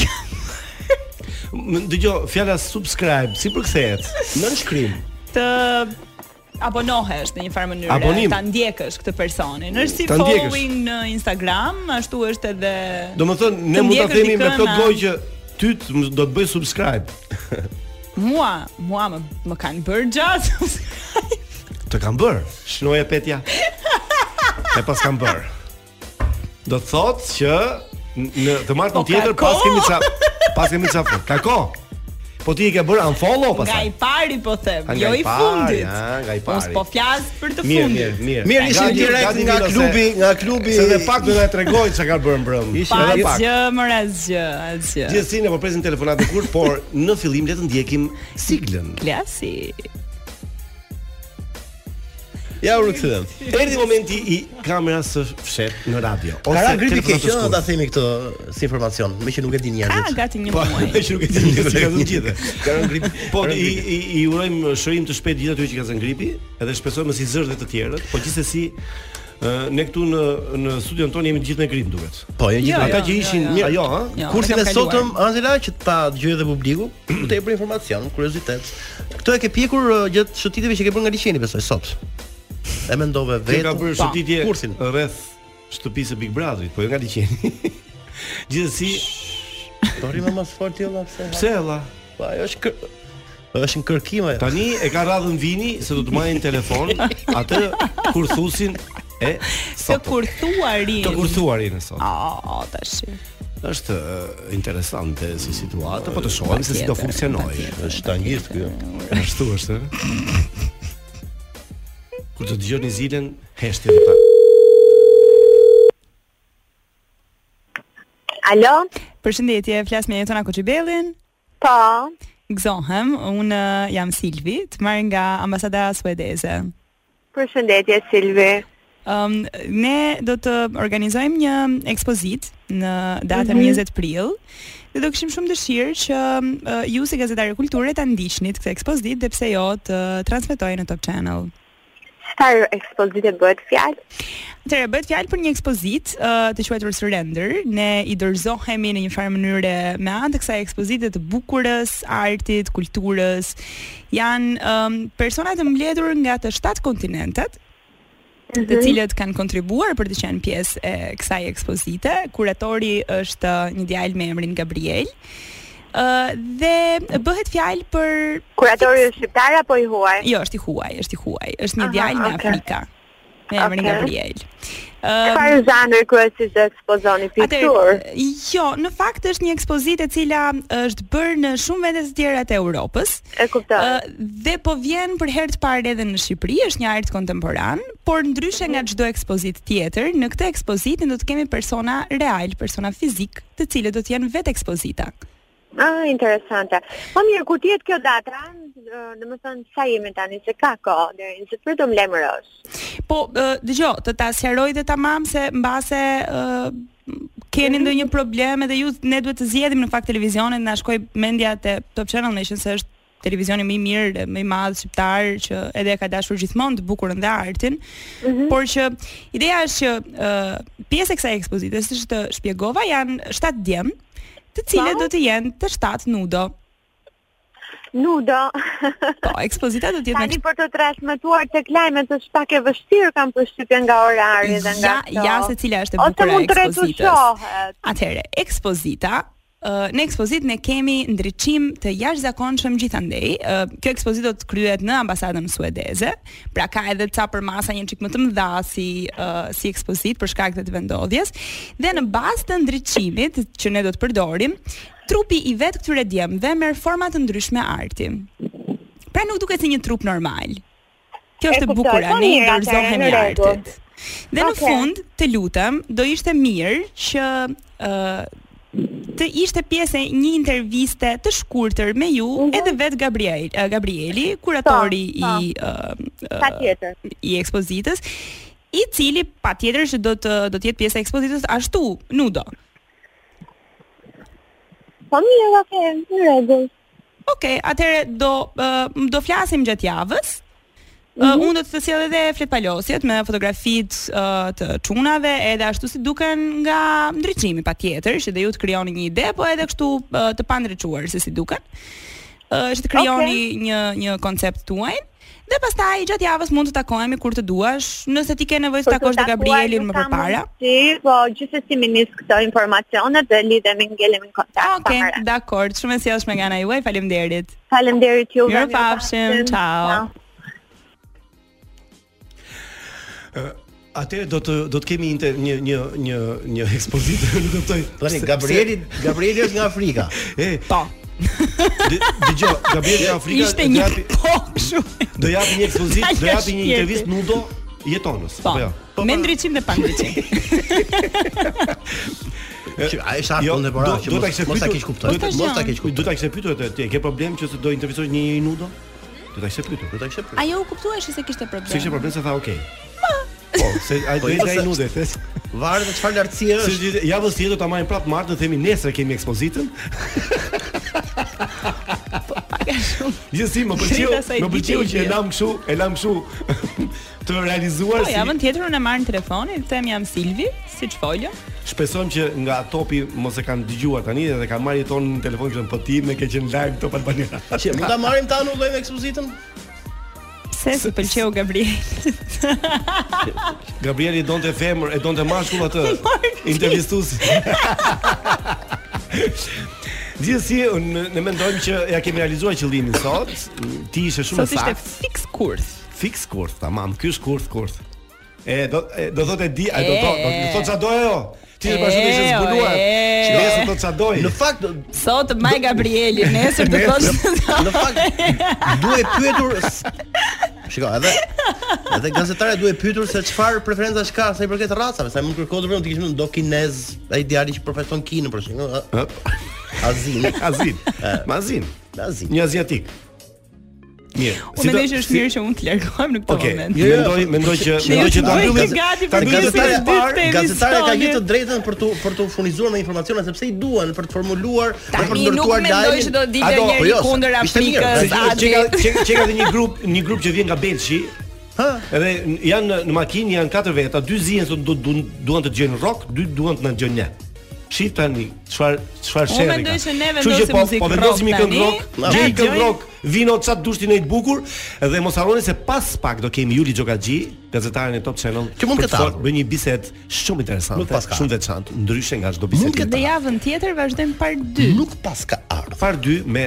S8: M- Dëgjoj, fjala subscribe si përkthehet?
S9: Nën shkrim.
S12: Të abonohesh në një farë mënyrë,
S8: Abonim.
S12: ta ndjekësh këtë personin. Është si
S8: Ta ndjekësh.
S12: following në Instagram, ashtu është edhe
S8: Do të thonë ne
S12: Të
S8: mund ta
S12: ndjekësh
S8: themi me
S12: dikën,
S8: plot
S12: a?
S8: lloj që ty të më- do të bëj subscribe.
S12: mua, mua më, më kanë bërë gjatë.
S8: Të kam bër. Shnoje petja. E pas kam bër. Do të thotë që n- në të martën
S12: Po, ka
S8: tjetër pas
S12: kohë.
S8: kemi ça pas kemi ça fund. Ka kohë. Po ti i ke bërë unfollow
S12: Nga
S8: pastaj.
S12: i pari po them,
S8: A, nga
S12: jo
S8: i
S12: i
S8: pari,
S12: fundit.
S8: a, nga i
S12: Mos
S8: pari.
S12: po flas për të
S8: Mirë,
S12: fundit.
S8: mirë, mirë.
S9: Mirë, ishim
S8: Gati-
S9: direkt
S8: gati
S9: nga
S8: Milo se-
S9: klubi, nga klubi.
S8: Se dhe pak do na tregoj çka ka bërë mbrëm.
S12: Pa
S8: Ishte edhe pak.
S12: asgjë, mërë asgjë, asgjë.
S8: Gjithsesi ne po presim telefonatën kur, por në fillim le të ndjekim siglën.
S12: Klasi.
S9: Ja u rikthyem.
S8: Erdhi momenti i kamerës së fshet në radio.
S9: Kara Griti ke
S8: telefonatës
S9: qenë
S8: kur.
S9: ta themi këtë si informacion, me që nuk e din
S12: A,
S9: njerëzit.
S12: gati një
S8: Po,
S12: muaj.
S8: që nuk e di njerëz që ka zënë gjithë.
S9: Kara Griti.
S8: Po i, i, i urojmë shërim të shpejtë gjithë atyre që ka zënë gripi, edhe shpresojmë si zërdhe të tjerët, po gjithsesi ë, ne këtu në në studion tonë jemi të gjithë me grip duket.
S9: Po, jo
S12: Jo,
S9: gjithë.
S8: Ata
S12: jo,
S8: që ishin
S12: jo, jo.
S8: mirë, jo, ha?
S12: Jo,
S9: Kursin
S12: e
S9: e
S12: kam kaluar.
S9: sotëm Angela që ta dëgjojë edhe publiku, u tepër informacion, kuriozitet. Këtë e ke pjekur uh, gjatë shëtitjeve që ke bërë nga liçeni besoj sot. E mendove
S8: Dhe
S9: vetë.
S8: ka bërë shëtitje
S9: kursin.
S8: rreth shtëpisë e Big Brotherit, po jo nga liçeni. Gjithsesi,
S9: Dori më mos fort jo, tilla pse.
S8: pse valla?
S9: Po, ajo është kër... është në kërkim ajo.
S8: Tani e ka radhën vini se do të marrin telefon atë kur thusin e
S12: Të
S8: sot.
S12: kurthuarin.
S8: Të kurthuarin e sot.
S12: A, tash.
S8: është eh, interesante si situatë, po të shohim se si do funksionojë.
S9: Është tangjist ky.
S8: Ashtu është, ëh. Kur të dëgjoni zilen, heshti dhe ta.
S12: Alo? Përshëndetje, flas me Jetona Koçibellin. Po. Gëzohem, unë jam Silvi, të marrë nga ambasada suedeze.
S13: Përshëndetje Silvi.
S12: Um, ne do të organizojmë një ekspozit në datën
S13: Mhm.
S12: 20 prill dhe do kishim shumë dëshirë që uh, ju si gazetarë kulture ta ndiqnit këtë ekspozit dhe pse jo të transmetoj në Top Channel.
S13: Çfarë ekspozite bëhet fjalë?
S12: Atëherë bëhet fjalë për një ekspozit uh, të quajtur Surrender. Ne i dorëzohemi në një farë mënyre me anë të kësaj ekspozite të bukurës, artit, kulturës. Janë um, persona të mbledhur nga të 7 kontinentet të
S13: Mhm.
S12: cilët kanë kontribuar për të qenë pjesë e kësaj ekspozite. Kuratori është uh, një djalë me emrin Gabriel. Uh, dhe bëhet fjalë për
S13: Kuratori është shqiptar apo i huaj?
S12: Jo, është i huaj, është i huaj. Është një
S13: Aha,
S12: djalë nga
S13: okay.
S12: Afrika. Me emrin
S13: Okay.
S12: Gabriel.
S13: Çfarë
S12: um,
S13: zanër kryesisht do ekspozoni pikturë?
S12: Atëherë, jo, në fakt është një ekspozitë e cila është bërë në shumë vende të tjera të Europës.
S13: E kuptoj.
S12: dhe po vjen për herë të parë edhe në Shqipëri, është një art kontemporan, por ndryshe nga çdo ekspozitë tjetër, në këtë ekspozitë ne do të kemi persona real, persona fizik, të cilët do të jenë vetë ekspozita.
S13: Ah, interesante. Po mirë, kur tihet kjo data? Ë, Domethënë sa jemi tani se ka kohë deri në sepër do mlemërosh.
S12: Po, ë, dëgjo, të ta sqaroj dhe tamam se mbase ë, keni ndonjë problem edhe ju ne duhet të zgjedhim në fakt televizionin, na shkoi mendja te Top Channel Nation se është televizioni më i mirë, dhe më i madh shqiptar që edhe ka dashur gjithmonë të bukurën dhe artin, por që ideja është që uh, pjesë e kësaj ekspozite, siç të shpjegova, janë 7 djem, të cilët do të jenë të 7 nudo.
S13: Nudo.
S12: Po, ekspozita do të jetë me
S13: Tani për të transmetuar tek lajmet është pak e vështirë kam përshtypjen nga orari dhe
S12: Ja,
S13: nga këto.
S12: ja se cila është e bukur
S13: Ose
S12: e
S13: mund të
S12: ekspozitës.
S13: retushohet.
S12: Atëherë, ekspozita ë, në ekspozit ne kemi ndriçim të jashtëzakonshëm gjithandej. Ë, Kjo ekspozit do të kryhet në ambasadën suedeze, pra ka edhe ca përmasa një çik më të mëdha si ë, si ekspozit për shkak të të vendodhjes dhe në bazë të ndriçimit që ne do të përdorim, trupi i vet këtyre djemve merr forma të ndryshme arti. Pra nuk duket si një trup normal. Kjo
S13: E
S12: është e
S13: kuptoj,
S12: bukura,
S13: po
S12: ne i
S13: mirë, atëherë,
S12: dorëzohemi
S13: në rregull.
S12: artit. Dhe në
S13: Okay.
S12: fund, të lutem, do ishte mirë që ë të ishte pjesë e një interviste të shkurtër me ju edhe vet Gabriel ë, Gabrieli, kuratori i ë, ë,
S13: Patjetër.
S12: i ekspozitës, i cili patjetër që do të do të jetë pjesë e ekspozitës ashtu, nudo.
S13: Po mirë, okay, në rregull.
S12: Okej, atëherë do ë, do flasim gjatë javës. Ë, unë do të të sjell edhe fletpalosjet me fotografitë ë, të çunave, edhe ashtu si duken nga ndriçimi patjetër, që dhe ju të krijoni një ide, po edhe kështu ë, të pandriçuar se si duken. Ë, që të krijoni një një koncept tuaj. Dhe pastaj gjatë javës mund të takohemi kur të duash, nëse ti ke nevojë të takosh dhe Gabrielin
S13: tá
S12: më përpara.
S13: Si, po gjithsesi më nis këto informacione dhe lidhemi ngelemi në kontakt.
S12: Okej,
S13: Okej.
S12: dakord. Shumë e sjellshme nga ana juaj. Faleminderit.
S13: Faleminderit juve.
S12: Mirupafshim.
S13: mirupafshim.
S12: Ciao.
S8: Atëherë do të do të kemi inter, një një një një ekspozitë, nuk kuptoj.
S9: Tani
S8: pse-
S9: Gabrieli,
S8: pse-
S9: Gabrieli është nga Afrika.
S8: E.
S12: Po.
S8: Dëgjoj, Gabrieli nga Afrika.
S9: Ishte një
S12: po, pokshu.
S8: Do japi një ekspozitë, do japi një
S12: Shpirti.
S8: intervistë nudo jetonës,
S12: Po.
S8: apo jo?
S12: Me ndriçim dhe pa ndriçim.
S8: Që
S9: ai është art kontemporan, që mos- mos ta keq kuptoj.
S8: Do ta
S9: Mos
S8: mos
S9: ta
S8: ta
S9: keq
S8: keq kuptoj. Do ta kishe pyetur atë ti, ke problem që se do intervistosh një njeri nudo? Do ta kishe pyetur, do ta kishe pyetur.
S12: Ajo u kuptueshi se kishte problem.
S8: Se kishte problem se tha okay. Po, se ai
S9: Po,
S8: do ishte
S9: ose-
S8: ai nude, thes.
S9: Varet se çfarë lartësie
S8: Se
S9: është.
S8: gjithë- javës tjetër ta marrim prapë martën, themi nesër kemi ekspozitën. Gjithsesi, më pëlqeu,
S12: Drita sa i
S8: më pëlqeu
S12: dite
S8: që e
S12: i
S8: lam kështu, e lam kështu të realizuar
S12: Po,
S8: si
S12: javën tjetër unë e marr në telefon, i them jam Silvi, siç folëm.
S8: Shpresojmë që nga topi mos e kanë dëgjuar tani dhe kanë marrë ton në telefon që po ti me ke qenë live Top Albania.
S9: Që mund ta marrim ta anullojmë ekspozitën?
S12: Pse s'u pëlqeu Gabriel?
S8: Gabrieli donte femër, e donte mashkull atë intervistues. Gjithsesi, unë ne mendojmë që ja kemi realizuar qëllimin sot. Ti ishe shumë
S12: Sot
S8: e
S12: ishte
S8: saktë.
S12: fix kurth.
S8: Fix kurth, tamam. Ky është kurth, kurth. E do e, do thotë di, e, do
S12: E.
S8: thotë, do thotë çfarë do ajo? Ti e bashkë të zbuluar. Çfarë do të çadoj?
S9: Në fakt
S12: sot Maj Gabrieli, nesër të Po, thosh.
S9: Në fakt duhet pyetur Shiko, edhe edhe gazetarja duhet pyetur se çfarë preferencash ka sa i përket racave, sa më kërkohet për të kishim do kinez, ai djali që profeson kinë për shembull. Azin,
S8: Azin. Mazin.
S9: Azin.
S8: Një aziatik. Mirë.
S12: Unë po mendoj që është mirë që unë të largohem në këtë
S8: Okej,
S12: moment.
S8: mendoj mendoj që mendoj që ta mbyllim.
S12: Ta
S9: Gazetarja e parë, gazetarja ka gjithë të drejtën për tu për tu furnizuar me informacione sepse i duan për të formuluar, për
S12: Tani
S9: të
S12: nuk
S9: ndërtuar lajmin.
S12: mendoj që do dilte
S9: Ato,
S12: njeri
S9: po jo,
S12: kundër
S9: ishte mirë,
S12: Afrikës,
S9: se-
S12: Adi.
S8: Çeka çeka çeka edhe një grup, një grup që vjen nga Belçi. Ha? Edhe janë në- në makinë, janë katër veta, dy zihen se do du- duan të dëgjojnë rock, dy duan të na dëgjojnë ne. Shif tani, çfar çfarë
S12: Unë
S8: sherrë.
S12: mendoj
S8: ka.
S12: që ne
S8: Kështu që
S12: vendosim
S8: po,
S12: muzikë
S8: po
S12: rock
S8: vendosim një këngë
S12: tani,
S8: rock,
S12: na
S8: gjej një këngë
S12: dëgjojnë.
S8: rock, vino çat dushti në të bukur dhe mos harroni se pas pak do kemi Juli Xhokaxhi, gazetaren e Top Channel.
S9: Që mund
S8: për
S9: këtë
S8: folë-
S9: ardhur.
S8: bëj një bisedë shumë interesante,
S9: Nuk pas ka.
S8: shumë veçantë, ndryshe nga çdo bisedë. tjetër.
S12: Dhe javën tjetër vazhdojmë part 2.
S9: Nuk pas ka ardhur.
S8: Far 2 me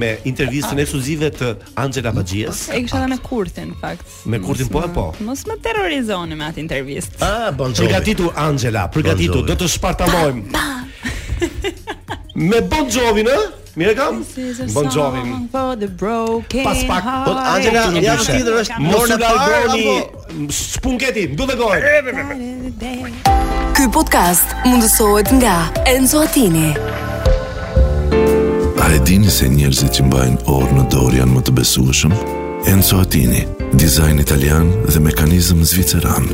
S8: me
S9: Ah.
S8: intervistën ekskluzive të Angela Baxhies
S12: E kisha edhe me Kurtin, në fakt.
S8: me Kurtin po e po.
S12: Mos më terrorizoni me atë intervistë.
S9: Ah, Bon Jovi.
S8: Përgatitu Angela, përgatitu,
S9: Bon Jovi.
S8: do të shpartalojmë. Me Bon Jovi, ë? Mirë kam? Bon Jovi.
S12: For the broken
S8: Pas pak,
S12: heart.
S8: po Angela, ja tjetër është
S12: Mos
S8: Morna
S12: u
S8: Paroni,
S12: largoni.
S8: spunketi, mbyll dhe gojë.
S3: Ky podcast mundësohet nga Enzo Attini.
S2: A e dini se njerëzit që mbajnë orë në dorë janë më të besueshëm? Enzo Attini, dizajn italian dhe mekanizëm zviceran.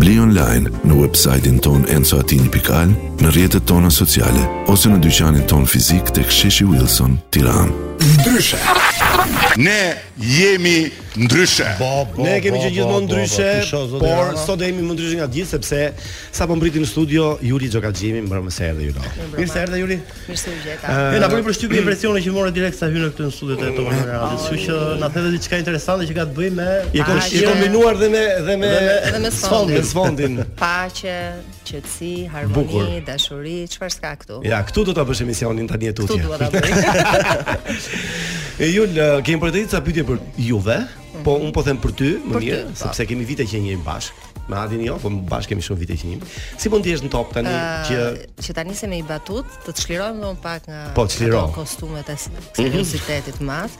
S2: Bli online në websajtin ton enzoatini.al, në rjetët tona sociale, ose në dyqanin ton fizik të ksheshi Wilson, tiran.
S14: Ndryshe. Ne jemi ndryshe. Bo,
S8: Ne kemi që gjithmonë ndryshe, por sot do jemi më ndryshe nga gjithë sepse sapo mbriti në studio Juli Xhokaxhimi, mbrëmë se erdhi Jula.
S9: Mirë se erdhe Juli.
S15: Mirë se u gjeta.
S9: Ne na bëri përshtypje impresione që morë direkt sa hynë këtu në studiot e Top Albana Radio, kështu që na thënë diçka interesante që ka të bëjë me
S8: Je kom- je kombinuar dhe me dhe me
S15: Dhe me sfondin.
S8: me sfondin.
S15: Paqe, qetësi,
S8: Bukur.
S15: harmoni, dashuri, çfarë s'ka këtu?
S8: Ja, këtu do ta bësh emisionin tani e tutje.
S15: Këtu dua ta bëj.
S8: E Jul, eh, kemi për të ditë ca pyetje për juve, po un po them për ty, më
S15: Mhm. Për ty,
S8: mirë,
S15: po.
S8: sepse kemi vite që jemi bashkë. Me Adin jo, po bashkë kemi shumë vite që jemi. Si po ndihesh në top tani
S15: Ë,
S8: që
S15: që tani se me i batut, të të çlirojmë dhe un pak nga
S8: Po, çliro.
S15: ato kostumet e s- seriozitetit të madh.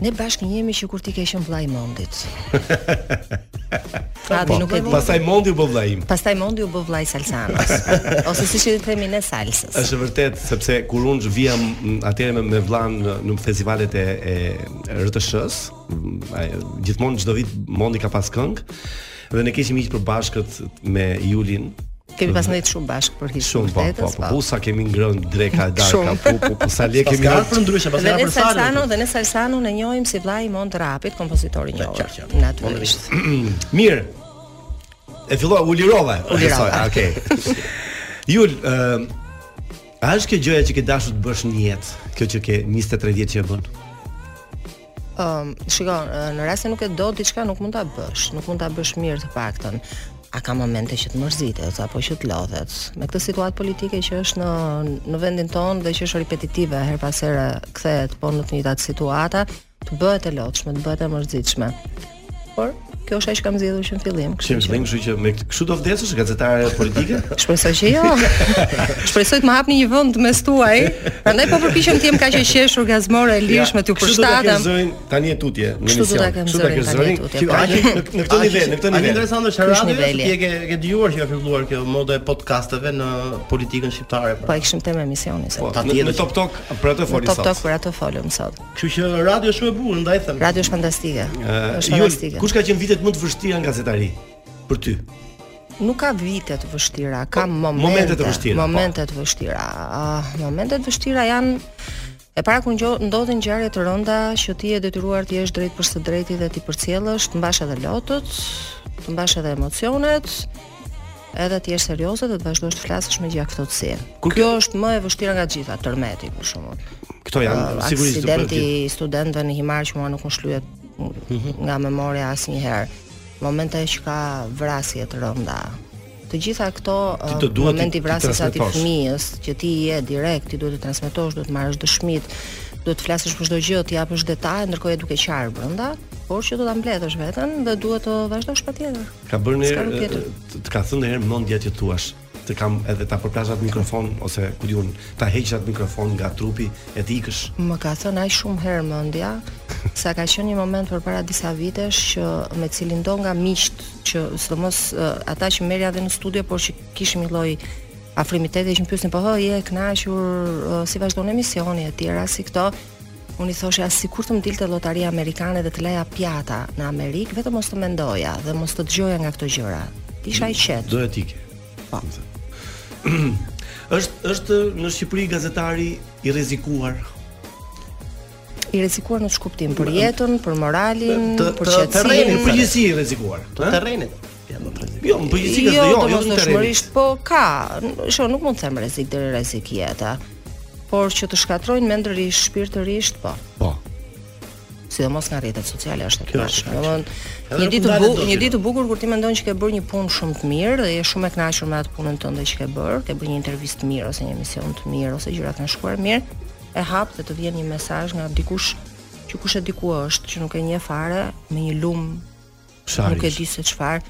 S15: Ne bashkë jemi që kur ti ke qenë vllai i Mondit. Adi nuk e di.
S8: Po, Pastaj Mondi u bë vllai im.
S15: Pastaj Mondi u bë vllai i Salsanos. Ose siç i themi ne Salsës.
S8: Është vërtet sepse kur unë vija m, atëherë me, me vllan në, në festivalet e, e RTS-s, m, mm, ai- gjithmonë çdo vit Mondi ka pas këngë dhe ne kishim hiq përbashkët me Julin.
S15: Kemi pas ndajt shumë bashkë për hir
S8: Shumë po, po, po, po, sa kemi ngrënë dreka e darka,
S15: Shumë.
S8: po, po, po, sa le kemi
S9: Pas ka për ndryshe, pas
S15: Dhe
S9: ka
S15: ne
S9: për
S15: Salsano
S8: po.
S9: salën.
S15: dhe ne Salsano ne njohim si vllai i Mont Rapit, kompozitori i njohur. Natyrisht.
S8: Mirë. E fillova u lirova.
S15: U
S8: Besoj,
S15: lirova.
S8: Okej. Jul, ë a është kjo gjëja që ke dashur të bësh në jetë? Kjo që ke 23 vjet që e bën?
S15: Ëm, Ehm, shiko, ë, në rast se nuk e do diçka nuk mund ta bësh, nuk mund ta bësh mirë të paktën. A ka momente që të mërzitet apo që të lodhet. Me këtë situatë politike që është në në vendin tonë dhe që është repetitive her pas here kthehet po në të njëjtat situata, të bëhet e lodhshme, të bëhet e mërzitshme. Por kjo është ajo që kam zgjedhur që në fillim,
S8: Kështu që kështu që me kështu do vdesësh gazetare politike?
S15: Shpresoj që jo. Shpresoj të më hapni një vend mes tuaj. Prandaj po përpiqem të jem kaq e qeshur gazmore e lirshme t'ju
S8: Kështu do ta ke
S15: përshtatem.
S8: zërin tani e tutje në
S15: Kështu do ta kem
S8: Kështu do ta ke
S15: zërin tani e
S8: zërin.
S15: tutje,
S8: Kjo-
S15: pra.
S8: a ke- Në në këtë nivel, në
S9: A
S8: këtë nivel.
S9: interesante është
S15: Ky është
S9: radio,
S15: niveli.
S9: ti e ke e ke dëgjuar që ka filluar kjo moda e podcasteve në politikën shqiptare. pra.
S15: Po e kishim temë emisioni se.
S9: Po,
S8: Në- Në Top Talk për atë
S15: Në
S8: foli
S15: Top
S8: sot.
S15: Talk pra. për ato folëm sot.
S9: Kështu që radio është shumë e bukur, ndaj them.
S15: Radio është fantastike.
S8: Ë,
S15: Është
S8: Jul,
S15: fantastike.
S8: kush ka qenë vitet më të vështira në gazetari? Për ty.
S15: Nuk ka vite të vështira, ka momente,
S8: Po, momente të vështira, po.
S15: Momente të vështira. Ah, momente të vështira janë E para kur ngjo- ndodhin ngjarje të rënda që ti je detyruar të jesh drejt për së drejti dhe ti përcjellësh, të mbash edhe lotët, të mbash edhe emocionet, edhe të jesh serioze dhe të vazhdosh të flasësh me gjaktotësi. Kjo është më e vështira nga të gjitha, tërmeti për shembull.
S8: Këto janë
S15: Ë,
S8: sigurisht të
S15: Uh, Ah, aksidenti i studentëve në Himar që mua nuk më shlyhet
S8: Mhm.
S15: nga memoria asnjëherë. Momente që ka vrasje të rënda. Të gjitha këto
S8: Ti
S15: ë,
S8: të duhet ti-
S15: momenti
S8: ti
S15: vrasjes aty
S8: transmetosh.
S15: fëmijës që ti je direkt, ti duhet të transmetosh, duhet të marrësh dëshmit, duhet të flasësh për çdo gjë, të japësh detaje, ndërkohë e duke qarë brenda, por që do ta mbledhësh veten dhe duhet të vazhdosh patjetër.
S8: Ka bërë
S15: S'ka
S8: një
S15: rrugë tjetër.
S8: të ka thënë një herë mendja që thuash. të kam edhe ta përplash atë mikrofon ose ku diun, ta heq atë mikrofon nga trupi e të ikësh.
S15: Më ka thënë ai shumë herë mendja, sa ka qenë një moment përpara disa vitesh që me cilin do nga miqt që sidomos eh, ata që merrja edhe në studio, por që kishim një lloj afrimiteti që më pyesin po hë je e kënaqur eh, si vazhdon emisioni e tjera si këto Unë i thoshe as sikur të më dilte lotaria amerikane dhe të laja pjata në Amerikë, vetëm mos të mendoja dhe mos të dëgjoja nga këto gjëra. Isha i qetë.
S8: Do etike.
S15: Po.
S8: është është në Shqipëri gazetari i rrezikuar.
S15: I rrezikuar në çkuptim për jetën, për moralin,
S8: Të
S15: për
S8: të
S15: qetësinë.
S8: terreni në përgjithësi i rrezikuar.
S9: Të
S8: ë?
S9: terrenit.
S8: Jo, në
S9: Po,
S8: përgjithësi ka jo,
S15: jo,
S8: jo në terreni.
S15: domosdoshmërisht po ka. Shë, nuk mund të them rrezik deri rrezik jeta. Por që të shkatrojnë mendërisht, shpirtërisht, po.
S8: Po.
S15: Sidomos nga rrjetet sociale është e
S9: Kjo
S15: pashë.
S9: është
S15: Domthonë,
S9: Edhe
S15: një
S9: nuk
S15: ditë
S9: ndalet
S15: bu,
S9: dot,
S15: një
S9: Ina.
S15: ditë bukur kur ti mendon që ke bërë një punë shumë të mirë dhe je shumë e kënaqur me atë punën tënde që ke bërë, ke bërë një intervistë të mirë ose një emision të mirë ose gjërat kanë shkuar mirë, e hap dhe të vjen një mesazh nga dikush që kush e diku është, që nuk e njeh fare, me një lum
S8: Sharish.
S15: nuk e di se çfarë.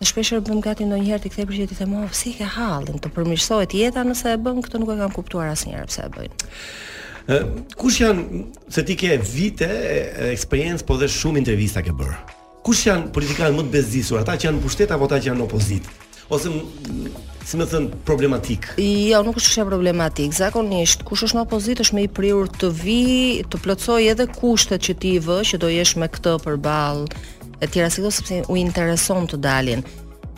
S15: Dhe shpeshherë bëm gati ndonjëherë ti kthej për ti them, "Oh, si e ke hallin, të përmirësohet jeta nëse e bën, këtë nuk e kam kuptuar asnjëherë pse e bëjnë."
S8: Ë, Kush janë se ti ke vite e- e eksperiencë po dhe shumë intervista ke bër. Kush janë politikanët më të bezdisur, ata që janë në pushtet apo ata që janë në opozitë? Ose m- si më thën problematik.
S15: Jo, nuk është çështje problematik. Zakonisht, kush është në opozitë është më i prirur të vi, të plotësoj edhe kushtet që ti i vë, që do jesh me këtë përballë e tjera si këto sepse u intereson të dalin.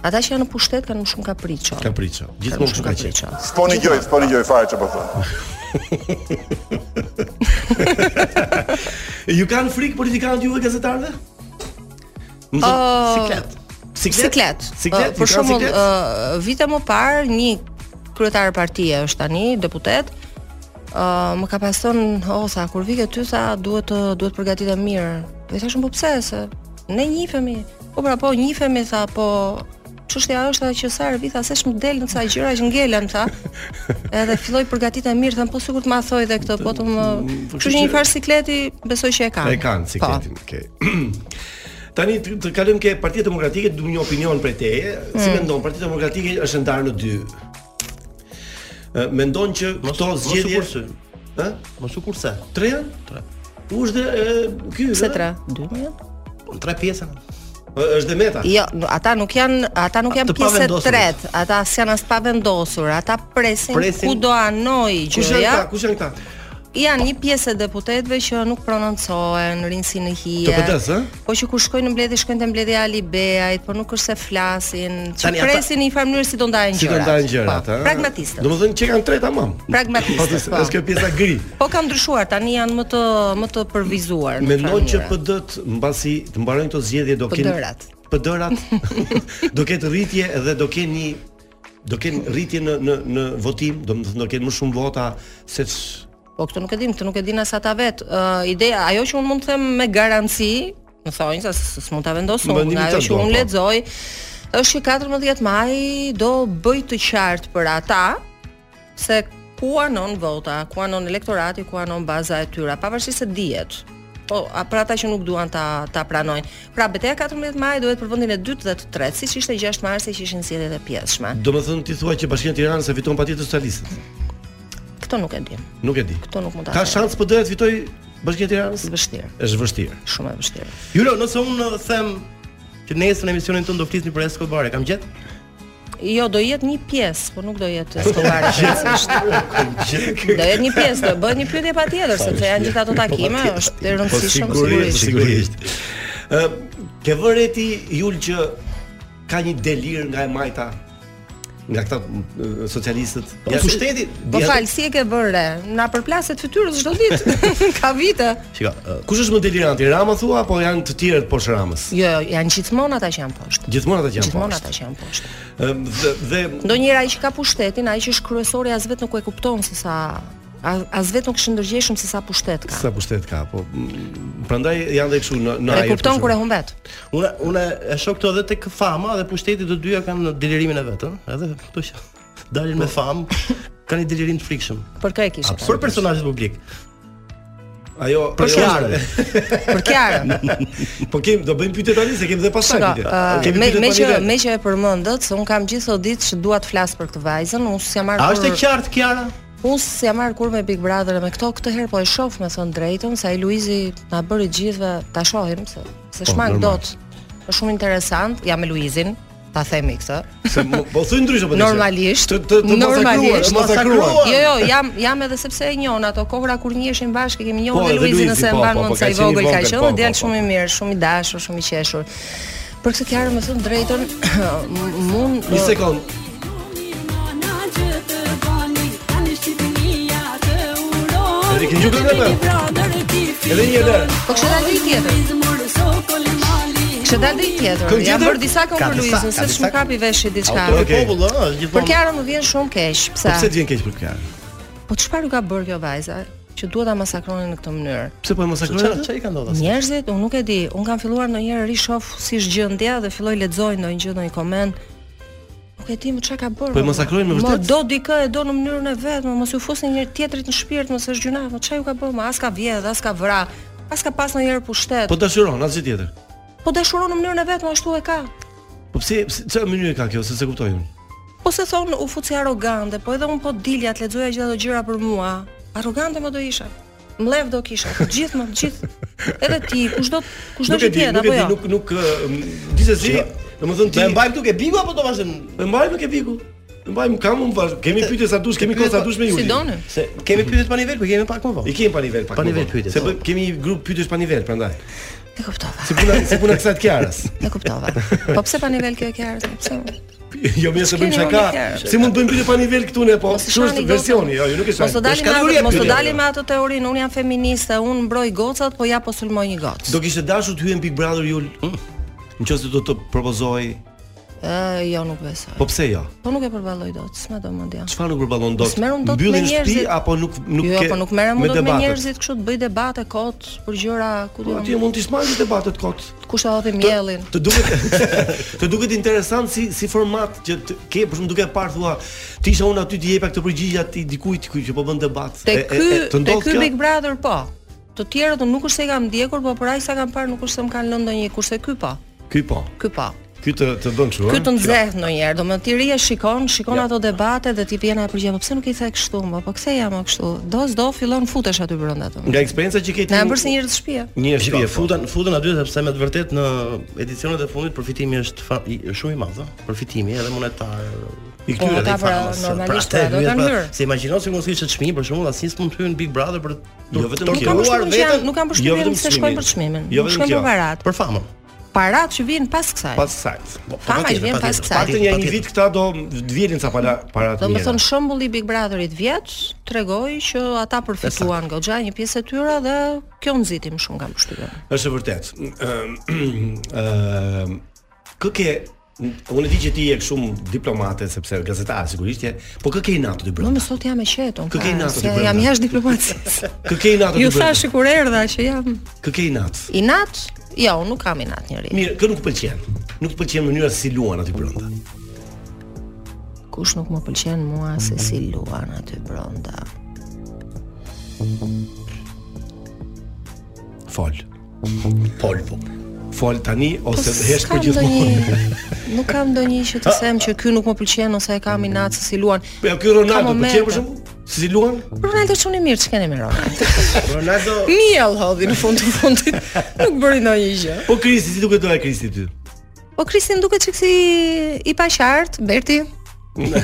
S15: Ata që janë në pushtet kanë më shumë kapriço.
S8: Kapriço.
S15: Kanë
S8: Gjithmonë
S15: më
S8: kështu
S15: shumë
S8: ka
S15: kapriço.
S8: qenë.
S4: S'poni gjoj, s'poni gjoj fare çfarë po thon.
S8: Ju kanë frikë politikanët juve gazetarëve? Më thon,
S15: Ë,
S8: siklet. Siklet?
S15: Siklet.
S8: Siklet,
S15: Ë,
S8: ju
S15: Për
S8: kanë
S15: shembull,
S8: siklet?
S15: ë, vite më parë një kryetar partie është tani deputet. ë më ka pas thënë, "O sa kur vi ke ty sa duhet të duhet përgatitem mirë." Po i thashëm, "Po pse se ne njihemi." Po pra po njihemi tha, po çështja është tha, që sa herë vi tha se më del në sa gjëra që ngelem tha. Edhe filloi përgatitem mirë, thënë po sigurt ma thoj edhe këtë, po të
S8: Mm,
S15: më. Kështu që një farë sikleti besoj që e kanë. Po,
S8: E kanë sikletin. Okej. Tani të, të kalojmë ke Partia Demokratike, du një opinion prej teje. Si
S15: Mm.
S8: mendon Partia Demokratike është ndarë në dy? Ë, Mendon që këto zgjedhje
S9: kurse.
S8: Ë?
S9: Mos u kurse.
S8: Tre janë? Tre. U është dhe e, ky.
S15: Pse
S8: ë?
S15: tre? Dy milion?
S9: Tre pjesa.
S8: Ë, Është dhe Meta.
S15: Jo, n- ata nuk janë, ata nuk janë
S8: Të
S15: pjesë e
S8: pavendosur.
S15: tretë, ata s'janë as pavendosur, ata presin,
S8: Presin.
S15: ku do anoj
S8: Kush janë
S15: gjëja.
S8: këta? Kush janë këta?
S15: Janë një pjesë e deputetëve që nuk prononcohen, rinë si në hije.
S8: Të pëtës, ë?
S15: Po që kur shkojnë në mbledhje, shkojnë te mbledhja e Ali Beajt, por nuk është se flasin, që
S8: Tani ata-
S15: presin në një farë mënyrë si do ndajnë
S8: Si do
S15: gjërat.
S8: ndajnë gjërat,
S15: Po,
S8: ë?
S15: Pragmatistët.
S8: Domethënë që kanë tre tamam. Po
S15: Pragmatistët.
S8: të- është kjo pjesa gri.
S15: Po kanë ndryshuar, tani janë më të më të përvizuar. në
S8: Mendon
S15: farë
S8: që
S15: mënyre.
S8: PD-t mbasi të mbarojnë këto zgjedhje do kenë
S15: PD-rat.
S8: PD-rat do ketë rritje dhe do kenë një do kenë rritje në në në votim, do të thënë do kenë më shumë vota se ç-
S15: Po këtë nuk e dim, këtë nuk e din as ata vet. Ë ideja, ajo që unë mund të them me garanci, më thonjë se s- s'mund ta vendos unë,
S8: Mendimi
S15: nga ajo
S8: tënd,
S15: që
S8: po,
S15: unë
S8: po.
S15: lexoj, është që 14 maj do bëj të qartë për ata se ku anon vota, ku anon elektorati, ku anon baza e tyra, pavarësisht se dihet. Po, a për ata që nuk duan ta ta pranojnë. Pra betejë 14 maj duhet për vendin e dytë dhe të tretë, siç ishte 6 marsi që ishin zgjedhjet e pjesshme.
S8: do të thënë ti thua që Bashkia e Tiranës e fiton patjetër socialistët.
S15: Këtë nuk e dim.
S8: Nuk e di.
S15: Këtë nuk mund ta.
S8: Ka
S15: them.
S8: shans PD-t fitoj Bashkia e Tiranës?
S15: Vështirë.
S8: Është vështirë.
S15: Shumë e vështirë.
S9: Julo, nëse unë them që nesër në emisionin tonë do flisni për Escobar, e kam gjetë?
S15: Jo, do jetë një pjesë, po nuk do jetë skolare pjesësisht.
S8: Gjë.
S15: Do jetë një pjesë, do bëhet një pyetje patjetër sepse janë gjithë
S8: Po
S15: ato takime, është e rëndësishme sigurisht.
S8: sigurisht. Ë, ke vënë ti Jul që ka një delir nga e majta nga këta ë, socialistët. Ja pushteti.
S15: Po
S8: ja-
S15: fal, si e ke bërë re? Na përplaset fytyrës çdo ditë. Ka vite.
S8: Shika, ë, kush është më deliranti? Rama thua apo janë të tjerët poshtë Ramës?
S15: Jo, jo, janë gjithmonë ata që janë poshtë.
S8: Gjithmonë ata që janë
S15: Gjithmonë
S8: poshtë.
S15: ata që janë poshtë.
S8: Ëm, Dhe, dhe
S15: Ndonjëra ai që ka pushtetin, ai që është kryesori as vetë nuk e kupton se sa a- as vetë nuk është ndërgjegjshëm se sa pushtet ka.
S8: sa pushtet ka, po m, prandaj janë dhe kështu në në
S15: E
S8: ajër,
S15: kupton
S8: për
S15: kur e
S8: shembull.
S15: humb vet.
S9: Unë unë e shoh këto edhe tek fama dhe pushteti të dyja kanë delirimin e vet, ëh. Edhe këto që dalin
S8: Po.
S9: me famë kanë një delirim të frikshëm.
S15: Për kë e kishte?
S9: Për personazhet publik.
S8: Ajo
S15: Për
S9: Jo,
S15: Kiarën. Për Kiarën.
S8: po kem do bëjmë pyetje tani se kemi dhe pastaj
S15: Shiko,
S8: pyetje.
S15: ë,
S8: Kemi
S15: uh, me,
S8: pyetje
S15: me
S8: tani
S15: që
S8: vetë.
S15: me që e përmendët se un kam gjithë sot ditë që dua të flas për këtë vajzën, unë s'jam marrë.
S9: A është e qartë Kiara?
S15: Unë s'jam marrë kur me Big Brother e me këto këtë herë po e shoh me thon drejtën se ai Luizi na bëri gjithëve ta shohim se se
S8: Po,
S15: shmang
S8: normal.
S15: dot. Është shumë interesant, jam me Luizin, ta themi këtë.
S8: Se mo- po thuj ndryshe po.
S15: Normalisht.
S8: Të të të masakruar, të masakruar.
S15: Jo, jo, jam jam edhe sepse e njohun ato kohra kur njiheshin bashkë, kemi njohur
S8: Po,
S15: dhe
S8: edhe
S15: Luizin
S8: Luizi,
S15: nëse e
S8: po,
S15: mban
S8: po,
S15: mend
S8: po,
S15: sa
S8: ka
S15: i
S8: qenë i
S15: vogël ka
S8: vogël, po,
S15: qenë,
S8: po,
S15: djalë
S8: po.
S15: shumë i mirë, shumë i dashur, shumë i qeshur. Për këtë kjarë më thënë drejtën, mund...
S8: Një sekond. Edhe keni gjuhë këngë? Edhe një herë.
S15: Po kështë dalë dhe i tjetër. Kështë dalë dhe i tjetër.
S8: Këngë
S15: Jam
S8: tjetër?
S15: bërë disa këngë
S8: Ka
S15: për
S8: disa-
S15: Luizin,
S8: ka
S15: se
S8: disa-
S15: shumë kapi veshë diçka.
S8: Autor e popullit, ëh, është gjithmonë.
S15: Për kjarën më vjen shumë keq,
S8: Po
S15: pse?
S8: pse të vjen keq për Kiarën?
S15: Po çfarë u ka bërë kjo vajza që duhet ta masakronin në këtë mënyrë?
S8: Pse po e masakrojnë?
S9: Çfarë- çfarë i ka ndodhur asaj?
S15: Njerëzit, unë nuk e di, unë kam filluar ndonjëherë ri shoh si është gjendja dhe filloj lexoj ndonjë gjë, ndonjë koment. Nuk e di më çka ka bërë.
S8: Po e
S15: mo.
S8: masakrojnë me
S15: Mo,
S8: vërtet?
S15: Do dikë e do në mënyrën e vet, mo, mos ju fusni një tjetrit në shpirt, mos është gjuna, mo çka ju ka bërë, mo as ka vjedh, as ka vra, as ka pas ndonjëherë pushtet.
S8: Po dashuron asgjë tjetër.
S15: Po dashuron në mënyrën e vet, mo ashtu e ka.
S8: Po pse pse- çfarë mënyrë ka kjo? Se se kuptoj unë.
S15: Po se thon u fuci arrogante, po edhe un po dilja të lexoja gjithë ato gjëra për mua. Arrogante më do isha. Mlev do kisha, të gjithë më, të gjithë. Edhe ti, kushdo kushdo
S8: Nuk
S15: që
S8: e di,
S15: tjetë
S8: nuk e
S15: apo
S8: di,
S15: jo.
S8: nuk nuk ë, gjithsesi, domethënë ti.
S9: Do e mbajmë duke biku apo do vazhdojmë?
S8: Po e mbajmë ke piku. E mbajmë kam unë vazh. Kemi pyetje sa dush, kemi kohë sa dush me Julin.
S9: Se kemi pyetje pa nivel, po kemi pak më
S8: I
S9: vonë.
S8: kemi pa nivel pak.
S9: Pa
S8: më
S9: nivel
S8: vonë.
S9: pyetjet,
S8: Se
S9: po.
S8: bë- kemi një grup pyetësh pa nivel prandaj.
S15: E kuptova.
S8: Si puna si puna kësaj të Kiarës.
S15: E kuptova. Po pse pa nivel kjo e ke ardhur? Po Pse?
S8: Jo më se bëjmë
S15: S'keni
S8: çaka.
S15: më Kiarës.
S8: Si mund të bëjmë pyetje pa nivel këtu ne po?
S15: Mos i
S8: Kjo
S15: shani
S8: është
S15: gocën.
S8: versioni, jo, ju nuk e shani.
S15: Mos të dalim me atë, mos të dalim me atë teorinë, un jam feministe, un mbroj gocat, po ja po sulmoj një gocë.
S8: Do kishte dashur të hyjë në Big Brother Jul.
S15: Mm.
S8: Nëse do të propozoj,
S15: Ë, jo nuk besoj.
S8: po pse jo?
S15: Po nuk e përballoj dot, s'ma do mendja.
S8: Çfarë nuk përballon dot?
S15: S'merrem dot me
S8: Mbylli në shtëpi
S15: njerëzit.
S8: apo nuk nuk
S15: Jo,
S8: ke?
S15: po nuk merrem unë dot me
S8: debatet?
S15: njerëzit kështu të bëj debate kot për gjëra ku
S8: Po ti mund të smajë debatet kot.
S15: Kush ta hodhi miellin?
S8: Të duket të duket interesant si si format që të, ke për shkak duke parë thua ti isha unë aty ti jepa këtë përgjigje aty dikujt ku që po bën debat.
S15: Te
S8: E- e-
S15: ky,
S8: e, të
S15: te
S8: ndodh
S15: ky
S8: kjo?
S15: Big Brother po. Të tjerët unë nuk është se i kam ndjekur, po për aq sa kam parë nuk është se më kanë lënë ndonjë, kurse ky po.
S8: Ky po.
S15: Ky po.
S8: Ky të të bën kështu.
S15: Ky
S8: ë?
S15: të nxehet ndonjëherë, domethënë ti rije shikon, shikon ato debate dhe ti vjen ajo përgjigje, po pse nuk i the kështu, mo, po pse jam o kështu? Do s'do fillon futesh aty brenda atë.
S8: Nga eksperienca që ke ti.
S15: Na janë bërë si njerëz të shtëpia.
S8: Një
S9: Shiko,
S8: shpije futa.
S9: futen futen aty sepse me të vërtet në edicionet e fundit përfitimi është fa, i, shumë i madh, ëh. përfitimi edhe monetar.
S8: I këtyre
S15: Po,
S9: edhe i
S15: ata pra,
S9: famës,
S15: normalisht,
S9: pra, te
S15: pra, do ta
S9: hyjet, pra,
S15: ndyrë.
S9: Se imagjino se mos kishte çmim për shembull, asnjë s'mund të hyn Big Brother për
S8: Jo vetëm
S15: Nuk kam përshtypjen që janë, nuk kam
S8: jo
S15: përshtypjen se shkojnë për çmimin.
S9: Jo
S15: Nuk
S9: vetëm
S15: shkojnë
S9: kjo.
S15: për parat.
S9: Për famën. Po,
S15: Parat që vijnë pas kësaj.
S8: Pas Po, sakt.
S15: Fama që vjen pas kësaj.
S8: Paktën ja një vit këta do të vjelin sa para para të
S15: Do më
S8: mira.
S15: thënë shëmbulli Big Brotherit vjeç tregoi që ata përfituan goxha një pjesë e tyre dhe kjo nxiti më shumë nga përshtypjen.
S8: Është e vërtet. Ëm ëm kë ke unë e di që ti je shumë diplomate sepse gazetar sigurisht je, po kë ke natë ty
S15: Më
S8: brenda?
S15: më sot jam e qetë, unë
S8: Kë ke
S15: fare,
S8: natë
S15: se
S8: ti brenda?
S15: Jam jashtë diplomacisë.
S8: Kë ke natë ty
S15: Ju
S8: brenda?
S15: thash kur erdha që jam
S8: Kë ke natë?
S15: inat? Jo, unë nuk kam inat njëri.
S8: Mirë, kë nuk pëlqen. Nuk pëlqen mënyra si luan aty brenda.
S15: Kush nuk më pëlqen mua se si luan aty brenda.
S8: Fol. Fol po. Fol tani ose
S15: Po,
S8: hesh
S15: s'kam
S8: për gjithmonë.
S15: ndonjë- Nuk kam ndonjë që të them që ky nuk më pëlqen ose e kam inat se si luan.
S8: Po ja, ky Ronaldo
S15: Ka
S8: pëlqen për
S15: momente.
S8: shembull? Si luan?
S15: Ronaldo çuni mirë, ç'keni me Ronaldo?
S8: Ronaldo
S15: Miell hodhi në fund të fundit. Nuk bëri ndonjë gjë.
S8: Po Kristi, si duket doja Kristi ty?
S15: Po Kristin duket çik si i paqartë, Berti.
S9: Unë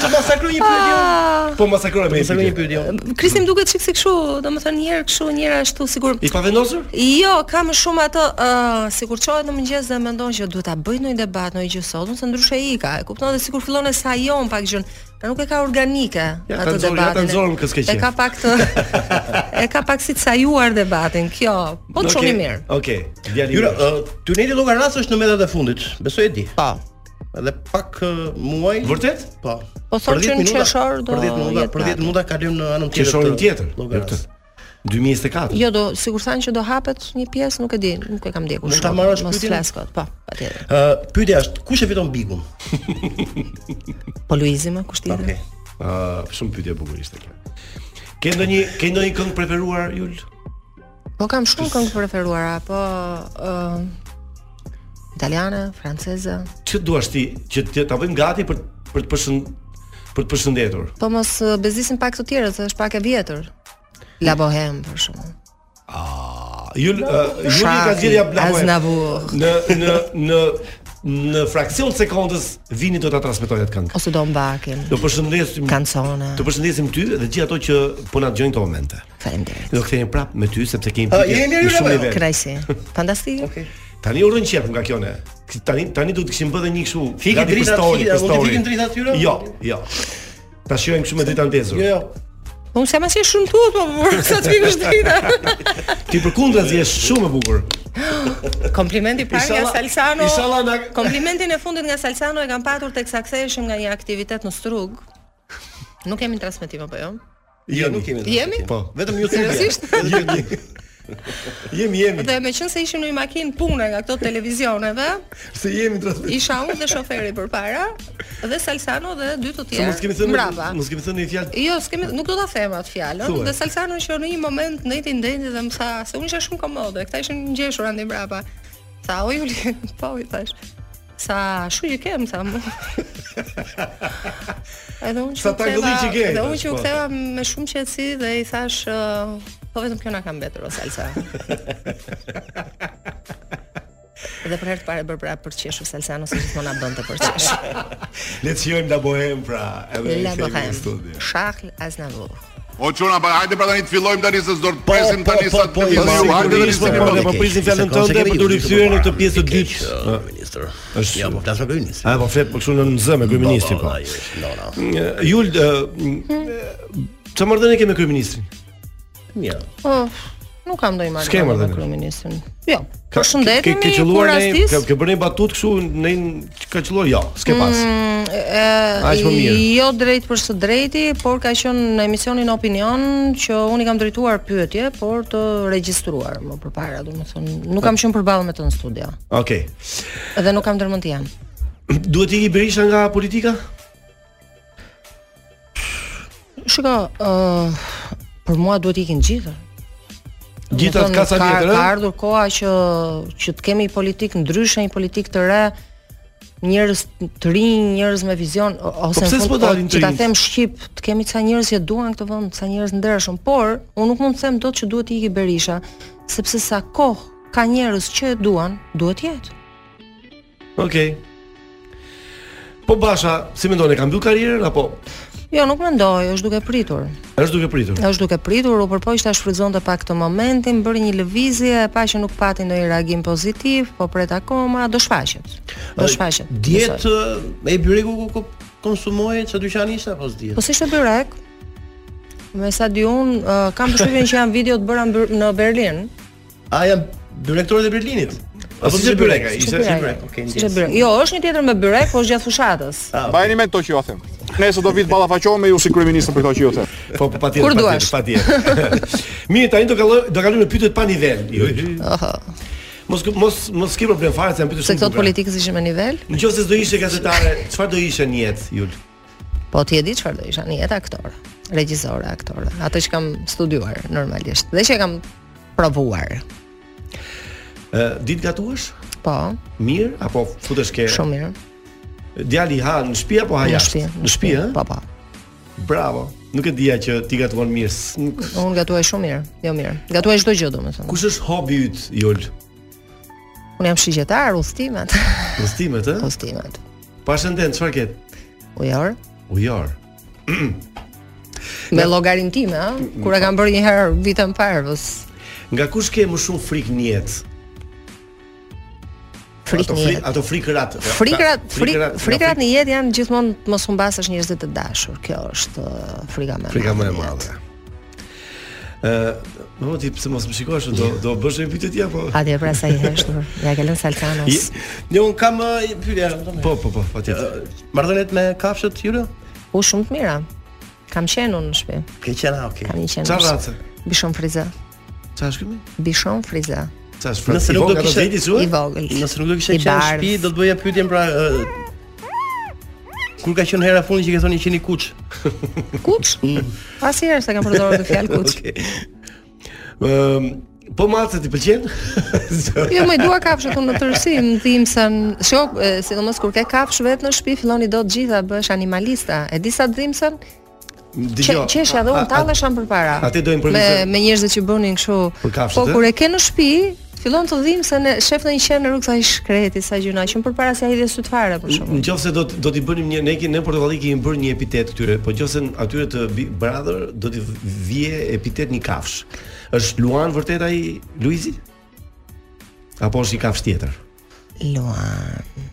S9: të masakroj një pyetje.
S15: Ah.
S8: Po masakroj me.
S9: Masakroj një
S8: pyetje.
S9: pyetje. unë.
S15: Kristin Jo, duket çik si kështu, domethënë një herë kështu, një herë ashtu, sigur.
S8: I pa vendosur?
S15: Jo, ka më shumë atë, uh, sikur çohet në mëngjes dhe mendon që duhet ta bëj ndonjë debat, ndonjë gjë sot, se ndryshe i ka. E kupton dhe sikur fillon e sajon pak gjën, pra nuk e ka organike
S8: Ja, ta
S15: atë
S8: nxorë, ja, ta
S15: debatin.
S8: nxorëm kës ke
S15: e ka
S8: qef.
S15: pak të e ka pak si të sajuar debatin. Kjo, po të çoni mirë.
S8: Okej, djali.
S9: Jura,
S8: mirë.
S9: ë, tuneli Llogaras është në metat e fundit. Besoj e di.
S15: Po.
S9: Edhe pak ë, muaj.
S8: Vërtet?
S9: Po.
S15: Po thonë
S9: Për 10
S15: që në
S9: minuta-
S15: qershor do
S9: Për 10 minuta,
S15: jetë
S9: për 10
S15: gati.
S9: minuta kalojmë në anën tjetër.
S8: Qershorin
S9: të
S8: tjetër,
S9: Llogaras.
S8: jo këtë. 2024.
S15: Jo, do sigur thanë që do hapet një pjesë, nuk e di, nuk e kam ndjekur.
S9: Mund ta
S15: shumë,
S9: marrësh
S15: mos
S9: pyetjen?
S15: flas kot, po, patjetër.
S9: Ë, pyetja është, kush e fiton Bigun?
S15: Po Luizi më kush tjetër?
S9: Okej.
S8: Ë, shumë pyetje e bukur ishte kjo. Ke ndonjë ke ndonjë këngë preferuar Jul?
S15: Po kam shumë këngë preferuara, po ë italiane, franceze.
S8: Ç'të duash ti që të ta bëjmë gati për për të përshën për të përshëndetur?
S15: Po mos ë, bezisin pak të tjerët, se është pak e vjetër. La Bohème për shembull.
S8: Jul ë, Juli ka
S15: Shaki,
S8: zgjedhja blaboj.
S15: Aznavour.
S8: Në në në në fraksion sekondës vini do ta transmetojë atë këngë.
S15: Ose Don Bakin.
S8: Do përshëndesim
S15: kancone.
S8: Të përshëndesim ty dhe gjithë ato që po na dëgjojnë këto momente.
S15: Faleminderit.
S8: Do kthehemi prap me ty sepse kemi
S9: Ah,
S15: Ë,
S8: pikë
S15: jeni
S8: në shumë
S15: mirë
S8: nivel.
S15: Knajsi. Fantastik. Okej.
S8: Tani urrën qep nga kjo ne. Tani tani do të kishim bërë një kështu.
S9: Fiki
S8: gati
S9: drita
S8: pistori,
S9: atyre, mund t'i
S8: pistori.
S9: fikim drita atyre?
S8: Jo, jo. Ta shijojmë kështu me drita ndezur.
S9: Jo, jo.
S15: Unë s'kam asnjë shumë tut, po por sa të vikush drita.
S8: Ti përkundra je shumë e bukur.
S15: Komplimenti parë nga
S8: Inshallah-
S15: Salsano.
S8: inshallah na-
S15: Komplimentin e fundit nga Salsano e kam patur tek saktheshim nga një aktivitet në Strug. Nuk kemi në transmetim apo jo?
S9: Jo, nuk kemi.
S15: Jemi?
S9: Po, vetëm ju
S15: Seriozisht?
S9: Jemi. Jemi, jemi.
S15: Dhe me qënë se ishim në një makinë pune nga këto televizioneve,
S9: Se jemi transmetim.
S15: isha unë dhe shoferi për para, dhe Salsano dhe dy të
S8: Se
S15: tjerë.
S8: mos kemi thënë
S15: mbrapa.
S8: mos kemi thënë një fjalë.
S15: Jo, s'kemi, nuk do ta them atë fjalën.
S8: Thuaj.
S15: Dhe Salsano që në një moment ndeti ndeti dhe më tha se unë isha shumë komode, këta ishin ngjeshur andi mbrapa. Tha, "O Juli, po i thash." Sa shu që kem tha. "Mu." Edhe unë që
S8: Sa
S15: u
S8: tangëlli që ke,
S15: ktheva, dhe unë që u
S8: po.
S15: ktheva me shumë qetësi dhe i thash, "Ë, po vetëm kjo na ka mbetur o Salsa. Dhe për herë të parë e bërë pra për qeshur Salsano se gjithmonë na bënte për qesh.
S8: Le të shijojmë la bohem pra, edhe
S15: La
S8: i kthehemi në
S15: Bohème.
S8: studio.
S15: Charles Aznavour.
S14: O çuna, pa hajde pra tani të fillojmë tani se s'do të presim
S8: po,
S14: tani
S8: po,
S14: sa
S8: po,
S14: të
S8: po,
S14: fillojmë. Hajde tani
S8: sigurisht,
S14: se
S8: po, po, po, prisin fjalën tënde për të rikthyer në këtë pjesë të dytë. Ë,
S9: Ministër.
S8: Është-
S9: Ja, po flas me kryeministrin.
S8: A po flet për kështu në zë me kryeministrin po. Ë, Jul, ë, m- çfarë marrëdhënie ke me kryeministrin?
S9: Mirë.
S15: Oh, nuk kam ndonjë marrëdhënie.
S8: S'ke marrëdhënie?
S15: Kryeministin. Jo.
S8: Ka
S15: Përshëndetemi,
S8: Ke qelluar ne,
S15: kurastis.
S8: ke, ke bërë një batut kështu në një- ka qelluar jo, s'ke pas.
S15: Mm, e,
S8: Aq më mirë.
S15: jo drejt për së drejti, por ka qenë në emisionin Opinion që unë i kam drejtuar pyetje, por të regjistruar më përpara, domethënë nuk
S8: Po.
S15: kam qenë përballë me të në studio
S8: Okej.
S15: dhe nuk kam dërmend të jam.
S8: Duhet i ikë Berisha nga politika?
S15: Shiko, ë për mua duhet ikin gjithë.
S8: Gjithat
S15: Domethënë,
S8: kasa vjetër, ë?
S15: Ka ardhur koha që që të kemi politik ndryshe, një politik të re, njerëz të rinj, njerëz me vizion o- ose
S8: Po pse
S15: në
S8: s'po
S15: fund, po,
S8: dalin të
S15: që ta
S8: rinjt?
S15: them shqip, të kemi ca njerëz që duan këtë vend, ca njerëz ndershëm, por unë nuk mund të them dot që duhet i iki Berisha, sepse sa kohë ka njerëz që e duan, duhet jetë.
S8: Okej. Po Basha, si mendon e ka mbyll karrierën apo
S15: Jo, nuk mendoj, është duke pritur.
S8: është duke pritur?
S15: Është duke pritur, u përpoq ta shfrytëzonte pak të momentin, bëri një lëvizje, e pa që nuk pati ndonjë reagim pozitiv, po pret akoma, do shfaqet. Do shfaqet. besoj.
S9: Dietë me byreku ku ku konsumoje çfarë dyqani ishte apo s'diet?
S15: Po si ishte byrek? Me sa di un, uh, kam përshtypjen që janë video të bëra në Ber- në Berlin.
S9: A janë byrektorët e Berlinit?
S8: si ishte byreka?
S9: Ishte
S15: Ishte
S9: byrek. Okej,
S15: Si ishte byrek? Jo, është një tjetër me byrek, po është gjatë fushatës.
S8: Ah,
S4: Bajeni mend to që ju a them. Nëse do vit ballafaqohem me ju si kryeministër për këto që ju them.
S8: Po po patjetër,
S15: Kur
S8: patjetër,
S15: duash.
S8: patjetër. Mirë, tani do kaloj do kalojmë në pyetjet pa nivel. Jo. Mos mos mos ke problem fare se janë pyetje
S15: Se
S8: shumë.
S15: këto të
S8: bukura.
S15: politikës ishin me nivel?
S8: Nëse do ishe gazetare, çfarë do ishe në jetë, Jul?
S15: Po ti e di çfarë do isha, një jetë aktor, regjisore, aktore. Atë që kam studiuar normalisht dhe që kam provuar.
S8: Ë, ditë gatuash?
S15: Po,
S8: Mirë apo futesh ke?
S15: shumë mirë.
S8: Djali ha në shtëpi apo ha
S15: Në
S8: jashtë?
S15: shtëpi,
S8: Në shtëpi, eh? ë?
S15: Po, po.
S8: Bravo. Nuk e dija që ti gatuan mirë. s- Nuk...
S15: Unë gatuaj shumë mirë, jo mirë. Gatuaj çdo gjë domethënë.
S8: Kush është hobi yt, Jul?
S15: Unë jam shigjetar, udhëtimet,
S8: Udhëtimet, ë?
S15: udhëtimet.
S8: Pashënden, çfarë ke?
S15: Ujor,
S8: Ujor.
S15: me llogarin time, ë, kur e kam bërë një herë vitën parvës.
S8: Nga kush ke më shumë frikë në jetë?
S15: Frikë
S8: ato
S15: në
S8: fri-
S15: jetë.
S8: Ato frikërat.
S15: Frikrat, frik,
S8: nga
S15: frikrat në jetë janë gjithmonë të mos humbasësh njerëzit të dashur. Kjo është ë, frika më e
S8: Frika më e
S15: në jetë.
S8: madhe. Ë, më vjen ti pse mos më shikosh, do do bësh një pyetje po. ti apo?
S15: Atje pra sa i heshtur. Ja ke lënë Salkanos.
S9: Ne un kam ë, një pyetje domethënë.
S8: Po, po, po, patjetër.
S9: Marrëdhëniet me kafshët Jule?
S15: U shumë të mira. Kam qenë unë në shtëpi.
S9: Ke qenë, okay.
S15: Kam një qenë.
S8: Çfarë
S15: në shtëpi.
S8: race?
S15: Bishon friza.
S8: Çfarë është këmi?
S15: Bishon friza.
S8: Çfarë është?
S9: Nëse nuk do kishe
S8: ti thua?
S15: I vogël.
S9: Nëse nuk do kishe
S15: I
S9: qenë në
S15: bardh.
S9: shtëpi, do të bëja pyetjen pra ë, Kur ka qenë hera fundi që ke thonë një qeni kuç?
S15: Kuç?
S8: Mm.
S15: Asnjëherë s'e kam përdorur këtë fjalë kuç.
S8: Okej. Ëm, po mace ti pëlqen?
S15: Jo, më i dua kafshë këtu në tërësi, më dhim se në shok, e, sidomos kur ke kafshë vetë në shtëpi, filloni do të gjitha bësh animalista. E di sa të dhimsen?
S8: Dgjoj.
S15: Qeshja
S8: ah,
S15: dhe unë tallesham përpara.
S8: Atë do
S15: Me
S8: improvisoj.
S15: me njerëzit që bënin kështu.
S8: Për kafshët,
S15: Po
S8: e?
S15: kur e ke në shtëpi, fillon të dhim se ne shef në një qenë në rrugë sa i shkreti, sa gjëna, që më përpara se ai dhe syt fare për shkakun.
S8: Në qoftë se do të- do t'i bënim një ne kemi në portokalli kemi bërë një epitet këtyre, po qoftë se në atyre të Big Brother do t'i vije epitet një kafsh. Është Luan vërtet ai Luizi? Apo është një kafsh tjetër?
S15: Luan.
S8: mm.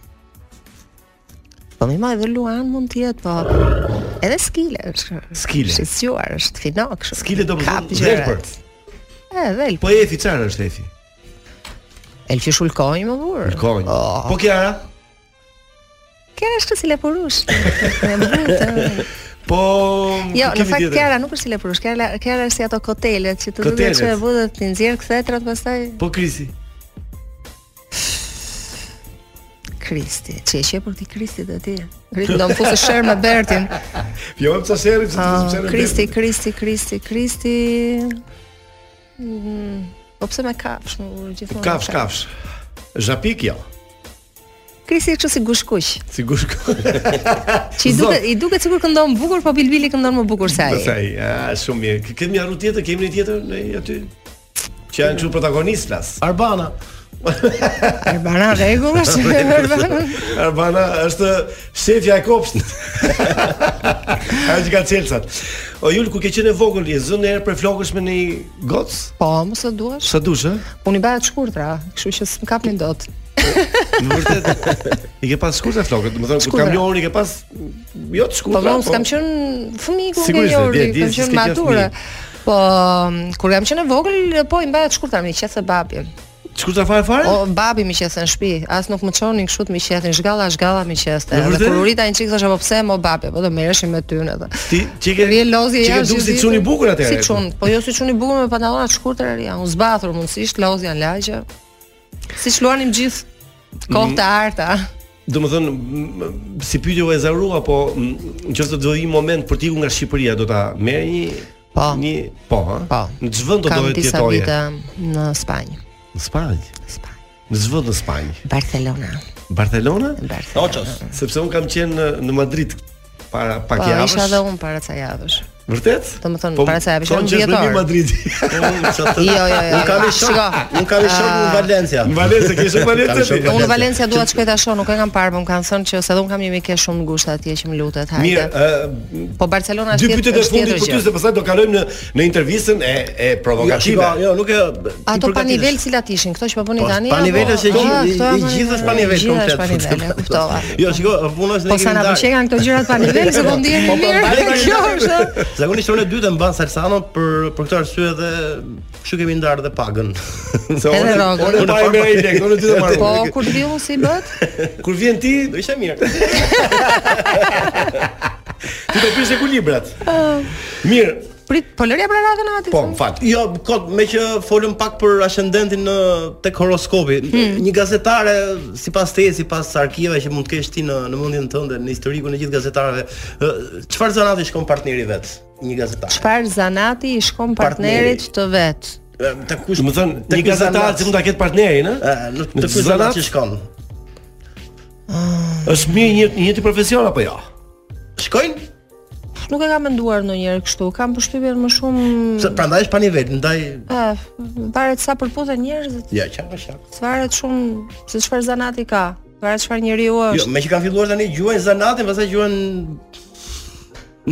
S15: Po më maj dhe Luan mund të jetë, po edhe skile është.
S8: Skile.
S15: Shqetësuar është finok kështu.
S8: Skile do të
S15: Kap
S8: thonë
S15: gjërat.
S8: Delbert.
S15: E, dhe
S8: Po Efi çfarë është Efi?
S15: Elfi shulkoj më vurë.
S8: Konj.
S15: Oh.
S8: Po Kiara?
S15: Kjara është si lepurush. Me mbutë.
S8: Po
S15: Jo, në
S8: kemi
S15: fakt
S8: tjetër.
S15: Kjara nuk është si lepurush, Kjara Kjara është si ato kotelet që të duhet
S8: Kotelet.
S15: të vëdë të nxjerr kthetrat pastaj
S8: Po Krisi.
S15: Kristi. Çi e shepur ti Kristi të ti? Kristi do më fusë shërë me Bertin.
S8: Jo, më çfarë sepse
S15: Ah, Kristi, Kristi, Kristi, Kristi. Mm, Po pse me kafsh më urë gjithmonë?
S8: Kafsh,
S15: me
S8: kafsh. Zhapik jo.
S15: Kristi është kështu si gushkuq.
S8: Sigurisht.
S15: Që i duket i duket sikur këndon bukur, po Bilbili këndon më bukur se ai.
S8: Pastaj, a, shumë mirë. K- Kemi arru tjetër, kemi një tjetër ne aty. Që janë çu protagonist las. Arbana.
S15: Arbana rregull është. Arbana.
S8: Arbana është shefja e kopshtit. Ai që ka celcat. O Jul, ku ke qenë e vogël, je zënë herë për flokësh me një goc?
S15: Po, mos e duash.
S8: Sa dush, ë?
S15: Unë i bëhet shkurtra, kështu që s'm kapni dot.
S8: Në vërtet. I ke pas shkurtë flokët, do të thonë kur
S15: Shkurtra.
S8: kam lori ke pas jo të
S15: Po
S8: shkurtë.
S15: vëllai, s'kam qenë fëmijë kur
S8: Sigurisht, di,
S15: ngej orë,
S8: di,
S15: kam
S8: s'ke
S15: qenë
S8: qenë
S15: maturë. Po m, kur jam qenë e vogël, po i mbahet shkurtra me qethë babi.
S8: Shkurtra fare fare?
S15: O babi më qethën në shtëpi, as nuk më çonin kështu të më qethin, zhgalla zhgalla më qethën.
S8: Në
S15: Dhe
S8: vërtet?
S15: kur u rita një çik thashë, po pse mo babi, po do merreshim me ty edhe.
S8: Ti çike
S15: Rje lozje
S8: çike
S15: jashtë.
S8: duk si
S15: gjithë
S8: çuni
S15: ditën.
S8: bukur atëherë.
S15: Si çun, po jo si çuni bukur me pantallona të shkurtra ria. Unë zbathur mundësisht lozja në lagje. Siç luanim gjithë kohë të arta.
S8: Do më thënë, m- m- si pyetje u e zarua, po m, në qoftë do i moment për t'iku nga Shqipëria, do ta merë një...
S15: Po.
S8: Një, po, ha? Po. Në çfarë vend do
S15: Kam
S8: dohet të
S15: disa
S8: jetoje?
S15: vite në Spanjë,
S8: Në Spanjë.
S15: Spanjë.
S8: Në çfarë vend në Spanjë?
S15: Barcelona.
S8: Barcelona?
S15: Barcelona.
S8: Sepse unë kam qenë në, në Madrid para pak
S15: Po,
S8: javësh.
S15: isha edhe unë para ca javësh.
S8: Vërtet? Po,
S15: Do të thonë para sa javësh
S8: thonë
S15: jam
S8: që është me
S15: vjetor.
S8: mirë Madridi.
S15: Jo, jo, jo,
S9: Unë kam
S15: jo.
S9: i shok.
S15: Shiko.
S9: Unë kam i shok në Valencia.
S8: Ah. Në Valencia, ke shok në Valencia
S9: Kam i shok
S8: ti?
S9: në
S15: Unë Valencia dua të shkoj tash, nuk e kam parë, po më kanë thënë që se dhe unë kam një mike shumë të ngushtë atje që më lutet, hajde.
S8: Mirë, ë,
S15: po Barcelona
S8: dy
S15: është tjetë-
S8: pyetjet e
S9: po
S15: është
S8: fundit
S15: tjetër
S8: për ty
S15: gjë.
S8: se pastaj do kalojmë në në intervistën e e provokative.
S9: Jo, shiko, jo, nuk e
S15: Ato pa nivel cilat ishin, këto që po bëni
S9: Po,
S15: tani.
S9: pa nivel është e
S15: apo-
S9: gjithë-
S15: Ah, këto
S9: i- i
S15: janë-
S9: gjithë është pa nivel
S15: gjithë është
S9: komplet.
S15: pa nivel, e kuptova.
S9: Jo, shiko, puna është
S15: Po sa na pëlqen këto gjërat pa nivel, se po ndihemi
S9: Po, po,
S15: mirë.
S9: mbani pa
S15: Kjo
S9: nivel.
S15: është.
S9: Zakonisht unë e dytë e mban Salsano për për këtë arsye dhe kështu kemi ndarë dhe pagën. Se
S15: Edhe rrogën.
S8: Unë pa e merr lek, unë dy të marr.
S15: Po kur vi unë si bëhet?
S8: Kur vjen ti, do ishte mirë. ti do prishe ku librat. Mirë.
S15: Prit, po lëria pra radhën atë.
S8: Po, më fal.
S9: Jo, kot, me që folëm pak për ascendentin në tek horoskopi. Një gazetare sipas teje, sipas arkiveve që mund të kesh ti në në mendjen tënde, në historikun e gjithë gazetarëve, ë, çfarë zanati shkon partneri vet? Një gazetar.
S15: Çfarë zanati i shkon partnerit të vet?
S9: Ë, Te kush?
S8: Do të thon,
S9: te
S8: një
S9: kush
S8: gazetar
S9: zanat?
S8: që mund ta ketë partnerin, ë?
S9: Në Te kush zanat që shkon?
S8: Është mirë një një ti profesion apo jo?
S9: Shkojnë?
S15: Nuk e kam menduar ndonjëherë kështu. Kam përshtypjen më shumë
S9: Se prandaj është pa nivel, ndaj
S15: Ah, varet sa përputhen njerëzit.
S9: ja, çka ka shak.
S15: Varet shumë se çfarë zanati ka. Varet çfarë njeriu
S9: Jo,
S15: është.
S9: me që kanë filluar tani gjuajnë zanatin, pastaj gjuajn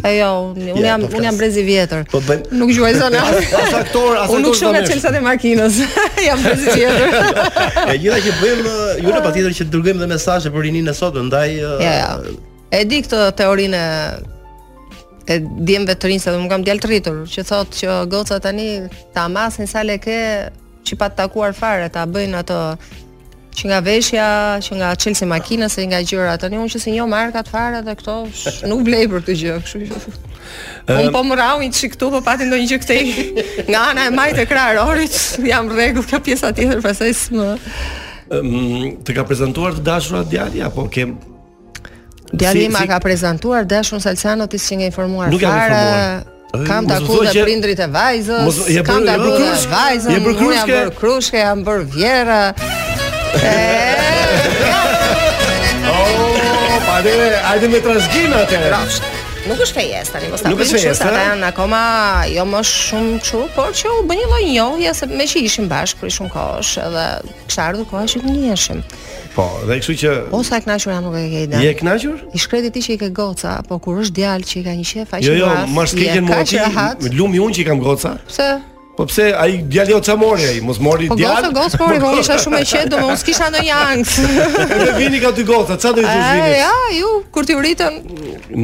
S15: E jo, unë unë
S9: Ja,
S15: jam
S9: po flas. Pra,
S15: unë jam brez i vjetër.
S9: po bëjnë
S15: Nuk gjuaj zanat.
S9: As aktor, as
S15: Unë nuk
S9: aktor
S15: shoh nga
S9: zanesh.
S15: çelsat e makinës. jam brez i vjetër.
S9: E gjitha që bëjmë, ë, ju në patjetër që dërgojmë dhe mesazhe për rinin e sotme, ndaj ë,
S15: Ah. Ja, ja. E di këtë teorinë e- e djemve të rinj se dhe më kam djalë të rritur, që thotë që goca tani ta amasin sa le ke që pa të takuar fare, ta bëjnë ato që nga veshja, që nga çelsi makinës, e nga gjëra. Tani unë që si njoh markat fare dhe këto sh- nuk blej për këtë gjë, kështu që Unë po më rau një çik këtu, po pati ndonjë gjë këtej nga ana e majtë e krarorit, jam rregull ka pjesa tjetër, pastaj s'më.
S8: po, Ëm, të ka prezantuar të dashura djalja apo ke
S15: Djali im si, ka prezantuar dashun Salsano ti si nga informuar
S16: Nuk jam
S15: fare.
S16: informuar.
S15: Kam
S16: Mos
S15: taku
S16: thuaj
S15: dhe
S16: që-
S15: prindrit e vajzës,
S16: Mos- je
S15: kam
S16: bërë- je
S15: taku
S16: bërë
S15: dhe
S16: krushk?
S15: vajzën,
S16: Je bërë
S15: unë jam
S16: krushke?
S15: bërë krushke, jam bërë vjera.
S16: Oh, pa dhe, hajde me trashgim atë.
S15: Rrafsht. Nuk është fejes tani, mos ta
S16: Nuk
S15: prim
S16: është
S15: kështu
S16: fejes,
S15: se ata
S16: a?
S15: janë akoma jo më shumë kështu, por që u bë një lloj njohje se me që ishim bashkë për shumë kohësh edhe kishte ardhur koha që të njiheshim.
S8: Po, dhe kështu që
S15: O sa e kënaqur jam nuk e ke ide.
S8: je kënaqur?
S15: I shkreti ti që i ke goca, po kur është djalë që i ka një qef, aq
S8: Jo, jo,
S15: rraf,
S8: më
S15: je
S8: shkëlqen
S15: kaq
S8: mua ti,
S15: rahat.
S8: lumi unë që i kam goca.
S15: Pse?
S8: Po pse ai djali o çfarë mori ai? Mos mori
S15: Po
S8: djalë.
S15: goca, goca, por unë isha shumë e qetë, domethënë unë s'kisha ndonjë ankth.
S8: Edhe vini ka dy goca, çfarë do i thosh
S15: E,
S8: vini?
S15: ja, ju, kur t'ju rritën,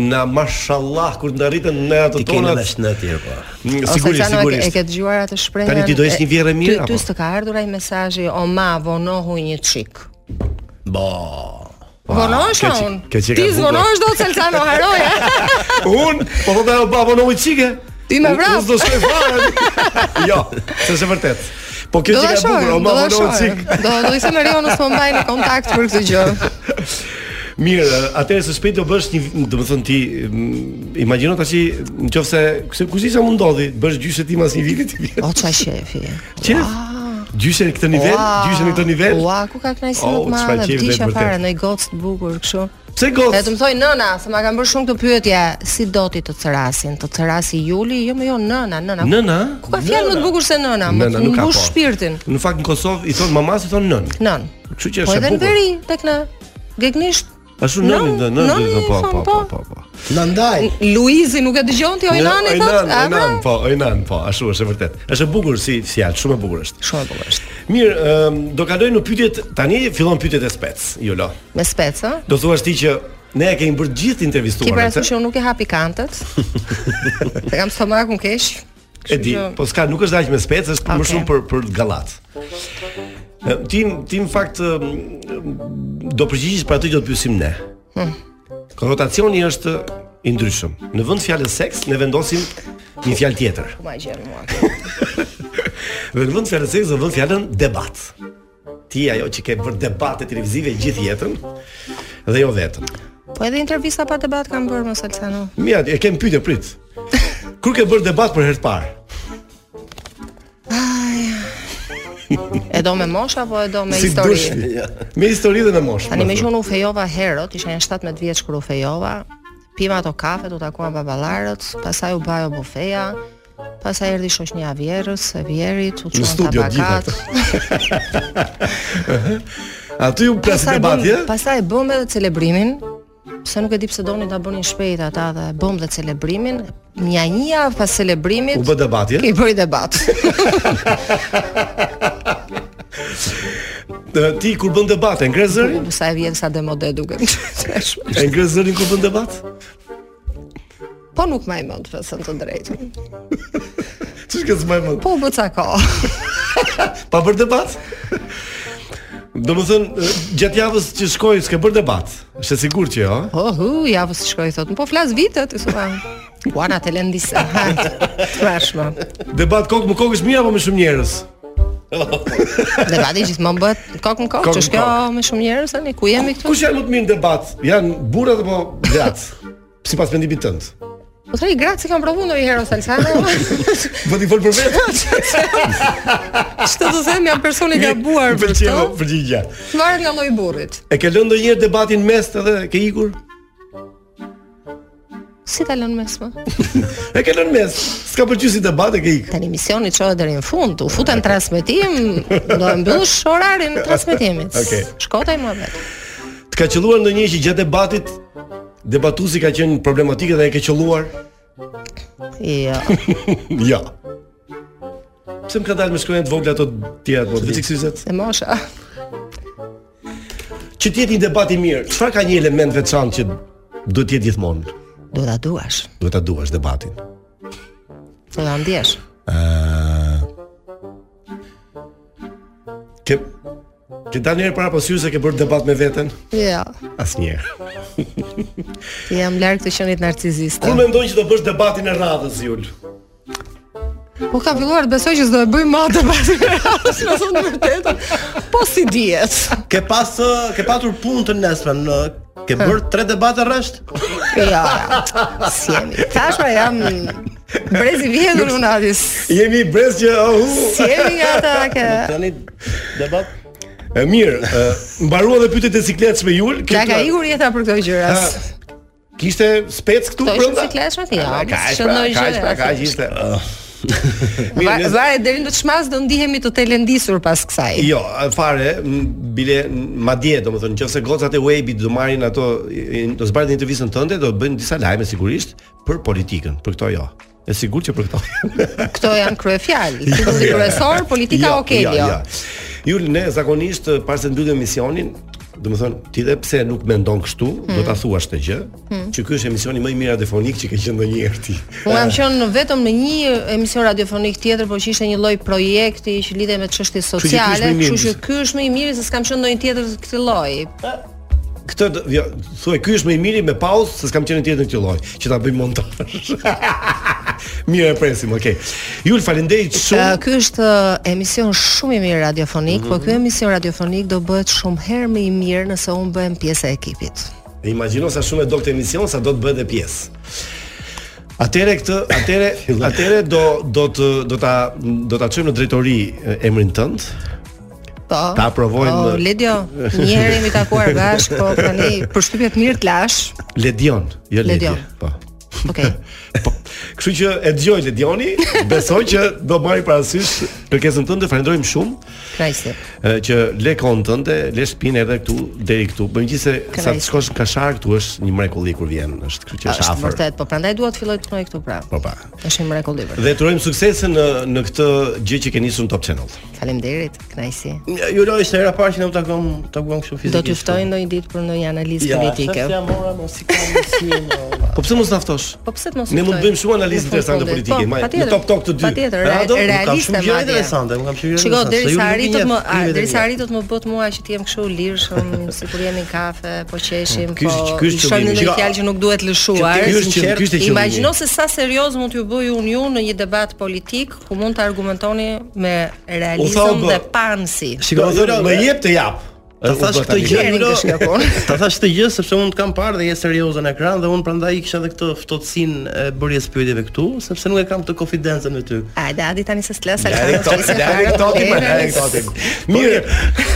S8: Na mashallah kur ndarritën në ato
S9: Ti keni
S8: tona.
S9: vesh në atje po.
S8: Mm, Sigurisht,
S15: Salsano, e ke- E
S8: sigurisht.
S15: ke dëgjuar atë shprehje?
S8: Tani ti do jesh një vjerë e mirë,
S15: Ty
S8: apo?
S15: s'të ka ardhur ai mesazhi, o ma vonohu një çik.
S8: Bo.
S15: Vonohesh
S8: Kjo
S15: ka
S8: që-
S15: unë.
S8: kjo që ka
S15: Ti
S8: bukur.
S15: zvonohesh do Salsano haroje.
S8: Un, po thotë ajo babo në çike.
S15: Ti me vrap.
S8: Unë do shkoj fare. jo, se është e vërtet. Po kjo që
S15: Do ta
S8: ka e
S15: shoh,
S8: bukur, o
S15: do
S8: mama
S15: ta
S8: në
S15: shoh.
S8: çik.
S15: Do do ishte në Rionus po mbaj në kontakt për këtë gjë.
S8: Mirë, atëherë së shpejti do bësh një, domethënë ti mm, imagjino tash nëse kush di sa mund ndodhi, bësh gjyshe tim as një viti ti vjen.
S15: O çfarë shefi.
S8: Qef? Gjyshe në këtë nivel,
S15: Ua,
S8: gjyshe në këtë nivel.
S15: Ua, ku ka knajsi më
S8: O,
S15: të
S8: çfarë
S15: madhe,
S8: qef vetë
S15: disha
S8: vërtet.
S15: fare në gocë të bukur kështu.
S8: Pse gocë?
S15: E të më thoj nëna, se ma kanë bërë shumë këtë pyetje, si do ti të cërasin? Të cërasi Juli? Jo, më jo nëna, nëna.
S8: Nëna?
S15: Ku ka fjalë më të bukur se nëna? Më
S8: Nëna
S15: të
S8: nuk ka
S15: mbush
S8: po.
S15: shpirtin.
S8: Në fakt në Kosovë i thon mamas i thon nën.
S15: Nën.
S8: Kështu që
S15: Po
S8: është e
S15: edhe në
S8: bukur.
S15: veri tek në Gegnisht.
S8: Ashtu nënin, dhe- nën,
S15: nënin
S8: dhe- po,
S15: i thon,
S8: po, po, po. Nandaj.
S15: Luizi nuk e dëgjon ti Ojnani
S8: Jo,
S15: thot?
S8: Ojnan,
S15: a, pra?
S8: Ojnan, po, Ojnan, po, ashtu është e vërtet. Është e bukur si fjalë, shumë e bukur është.
S15: Shumë e bukur është.
S8: Mirë, ëm, do kaloj në pyetjet, tani fillon pyetjet e spec, Jolo.
S15: Me spec, ë?
S8: Do thuash ti që ne e kemi bërë gjithë
S15: Ki
S8: intervistuar
S15: parasysh që unë nuk e hapi kantët. Se kam stomakun keq.
S8: E di,
S15: që-
S8: po s'ka, nuk është aq me spec, është më
S15: Okay.
S8: shumë për për gallat. Ë, Ti ti në fakt ëm, do përgjigjesh për atë që do të pyesim ne.
S15: Hmm.
S8: Konotacioni është i ndryshëm. Në vend fjalës seks ne vendosim një fjalë tjetër.
S15: Ku ma gjen mua?
S8: Dhe në vend fjalës seks do vend fjalën debat. Ti ajo që ke bërë debate televizive gjithë jetën dhe jo vetëm.
S15: Po edhe intervista pa debat kam bërë me Salsano.
S8: Mia, e kem pyetje prit. Kur ke bërë debat për herë të parë?
S15: E do me mosh apo e do me
S8: si
S15: histori?
S8: dushmi. Me histori dhe me po moshë.
S15: Tani me
S8: më
S15: që
S8: thua.
S15: unë u fejova herët, isha një 17 vjeç kur u fejova, pima ato kafe, u takua baballarët, pasaj u bajo bufeja, pasaj erdhi shoqnia e vjerës, e vjerit, u
S8: Në
S15: çuan
S8: studio
S15: tabakat.
S8: gjithë ato. Aty u plas debati, ë?
S15: pasaj bëm edhe celebrimin, pse nuk e di pse donin ta bënin shpejt ata dhe bëm dhe celebrimin, mja një javë pas celebrimit.
S8: U bë debati, ë?
S15: Ke bëri debat.
S8: Ë, Ti kur bën debate, ngre zërin?
S15: Sa e vjen sa demode duket.
S8: E ngre zërin kur bën debat?
S15: po nuk më i mend fesën të drejtën.
S8: Ç'është që s'maj më?
S15: Po u bë ca kohë.
S8: Pa bër debat? Do më thënë, ë, gjatë javës që shkoj, s'ke bërë debat. Është e sigurt që jo, ë?
S15: Oh, hu, javës që shkoj thotë, po flas vitet, i thua. Juana te lëndisa. Trashma.
S8: Debat kokë më kokë është mirë apo më shumë njerëz?
S15: Debati gjithmonë bëhet kokë në kokë,
S8: Kokë
S15: ç'është
S8: në
S15: kjo me shumë njerëz tani, ku jemi këtu?
S8: Kush janë më të mirë në debat? Janë burrat apo grat? Sipas mendimit tënd.
S15: Po threj gratë se kam provu ndonjëherë o Salsano.
S8: Po ti fol për vetë.
S15: Ç'të të them, jam person i gabuar për
S8: Pëlqeu
S15: këtë.
S8: përgjigja.
S15: Varet nga lloji i burrit.
S8: E ke lënë ndonjëherë debatin mes edhe ke ikur?
S15: Si ta lënë mes më?
S8: E ke lënë mes. S'ka pëlqyer si debat e ke ikë.
S15: Tani misioni çohet deri në fund, u futen transmetim, do e mbyllësh orarin e transmetimit.
S8: Okej.
S15: Shkotaj më vetë.
S8: Të ka qelluar ndonjë që gjatë debatit debatuesi ka qenë problematike dhe e ke qelluar?
S15: Jo.
S8: jo. Pse më ka dalë me shkronjat vogla ato të tjera po vetë syzet?
S15: Se mosha.
S8: Që të jetë një debat i mirë, çfarë ka një element veçantë që duhet të jetë gjithmonë?
S15: Do ta duash.
S8: Duhet ta duash debatin.
S15: Do ta ndjesh.
S8: Ke Ke dalë një herë para pas se ke bërë debat me veten?
S15: Jo.
S8: Asnjëherë.
S15: Jam larg të qenit narciziste.
S8: Kur mendon që do bësh debatin e radhës, Jul?
S15: Po kam filluar të besoj që s'do e bëj më atë pasi radhës, me thonë të vërtetën. Po si dihet?
S9: Ke pas ë, ke patur punë të nesmen në Ke bërë tre debate rresht?
S15: Jo, si jemi. Tash pra jam brezi vjetër unë atis.
S8: Jemi brez që oh.
S15: Si jemi nga ata ke.
S9: Tani debat
S8: Eh, E mirë, e, mbaruan dhe pyetjet e cikletshme Jul.
S15: Ka ka ikur jeta për këto gjëras.
S8: Ha, Kishte spec këtu
S15: Këto ishin
S8: brenda?
S15: cikletshme ti.
S8: Ah,
S15: Ja,
S8: Kaq, pra, kaq,
S15: shënoj
S8: pra,
S15: gjëra.
S8: kaq ishte. Mirë,
S15: Ah. Va-
S8: nëse-
S15: Varet deri në të çmas do ndihemi të telendisur pas kësaj.
S8: Jo, fare, m, bile madje, domethënë, nëse gocat e Webi do marrin ato i- i- do zbardhin intervistën tënde, do bëjnë disa lajme sigurisht për politikën, për këto jo. E sigurt që për këto.
S15: Këto janë
S8: Jo,
S15: kryefjalë. Titulli kryesor, politika jo? Okelio.
S8: Jul, ne zakonisht para se të mbyllë emisionin, do të thonë, ti dhe pse nuk mendon kështu, do ta thuash këtë gjë,
S15: Hmm. Po.
S8: që ky është emisioni më i mirë radiofonik që ke qenë ndonjëherë ti.
S15: Unë
S8: Eh.
S15: jam qenë vetëm në një emision radiofonik tjetër, por që ishte një lloj projekti që lidhej me çështje
S8: ky është më
S15: sociale,
S8: i miri.
S15: kështu që ky është më i miri se s'kam qenë ndonjë tjetër të këtij lloji.
S8: Këtë do- jo, thuaj ky është më i miri me pauzë se s'kam qenë tjetër në këtë lloj, që ta bëjmë montazh. Mirë, e presim, okay. Jul, faleminderit shumë.
S15: Ë, Eh, Ky është ë, emision shumë i mirë radiofonik,
S8: Mhm.
S15: por ky emision radiofonik do bëhet shumë herë më i mirë nëse unë bëhem pjesë e ekipit.
S8: E imagjino sa shumë e do këtë emision sa do të bëhet dhe pjesë. Atëre këtë, atëre, atëre do do të do ta do ta çojmë në drejtori e, emrin tënd.
S15: Po.
S8: Ta aprovojmë.
S15: Po, Ledio, një herë jemi takuar bashkë, po tani përshtypjet mirë të lash.
S8: Ledion, jo Ledio.
S15: Ledion.
S8: Po.
S15: Okej.
S8: Kështu që e dëgjoj Ledioni, besoj që do marrë parasysh kërkesën tënde. Falenderojmë shumë
S15: Krajse.
S8: e, që le kohën tënde, le shtëpinë edhe këtu deri këtu. Po megjithëse sa të
S15: Krejt.
S8: shkosh në Kashar këtu është një mrekulli kur vjen, është kështu që është
S15: Është
S8: afër.
S15: vërtet, po prandaj dua të filloj të punoj këtu prapë.
S8: Po pa.
S15: Është një mrekull i vërtet.
S8: Dhe të urojmë suksese në në këtë gjë që ke nisur në Top Channel.
S15: Po. Faleminderit, kënaqësi.
S9: Ju loj ishte hera e parë që ne u takon, takuam kështu fizikisht.
S15: Do t'ju
S8: po.
S15: ftoj ndonjë ditë për ndonjë analizë
S9: Ja,
S15: politike.
S9: s'është jam ora, mos i kam mësim.
S8: Po pse mos na ftosh?
S15: Po pse të mos
S8: Ne mund të
S15: ftoj?
S8: bëjmë shumë analizë
S15: Në fund
S8: interesante
S15: fundit.
S8: politike,
S15: Po,
S8: maj,
S15: patjetër.
S8: në Top Talk të dy.
S15: Patjetër,
S8: Ra, do-
S15: re- realiste
S9: gjëra
S15: madje.
S9: interesante, unë kam shumë gjëra
S15: Shiko,
S9: interesante, se
S15: deri
S9: ju
S15: sa
S9: nuk i
S15: arritët
S9: njeh,
S15: më,
S9: ju vetëm
S15: deri sa
S9: njeh.
S15: arritët më bët mua që të jem kështu lirshëm, sikur jemi në kafe, po qeshim,
S8: Ky
S15: po
S8: është- ky është
S15: shkojmë në
S8: qëllimi.
S15: një
S8: Shiko,
S15: fjalë që nuk duhet lëshuar.
S8: që ky është qëllimi, ky është qëllimi.
S15: Imagjino se sa serioz mund t'ju bëj unë ju në një debat politik ku mund të argumentoni me
S8: thau,
S15: realizëm
S8: bë.
S15: dhe pansi.
S8: Shikoj, do më jep të jap.
S9: Ta thash këtë gjë,
S15: Jeni
S9: bro.
S15: të shkakon.
S9: Ta thash këtë gjë sepse unë të kam parë dhe je serioze në ekran dhe unë prandaj kisha edhe këtë ftohtësinë e bërjes pyetjeve këtu, sepse nuk e kam këtë konfidencën me ty.
S15: Ajde, hadi tani se s'les
S9: Lari
S15: Alfredo,
S9: këto-
S15: s'les
S9: lari
S15: Alfredo,
S9: këto ti, më,
S15: lari këto
S9: lari
S15: ti.
S9: këto ti.
S8: Mirë,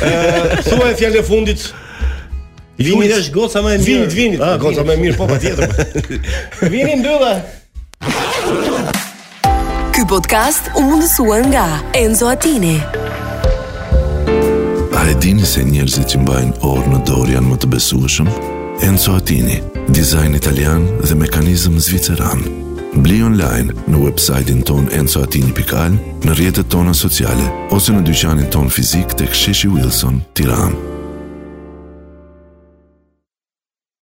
S8: ë, thuaj fjalën e fundit. Vini
S9: është goca më e mirë.
S8: Vinit, vinit,
S9: Ah,
S8: goca
S9: vinit.
S8: më e mirë, po patjetër. Vini mbyllë.
S3: Ky podcast u mundësua nga Enzo Attini.
S2: A e dini se njerëzit që mbajnë orë në dorë janë më të besueshëm? Enzo Attini, dizajn italian dhe mekanizëm zviceran. Bli online në website-in ton enzoatini.al, në rrjetet tona sociale ose në dyqanin ton fizik tek Sheshi Wilson, Tiranë.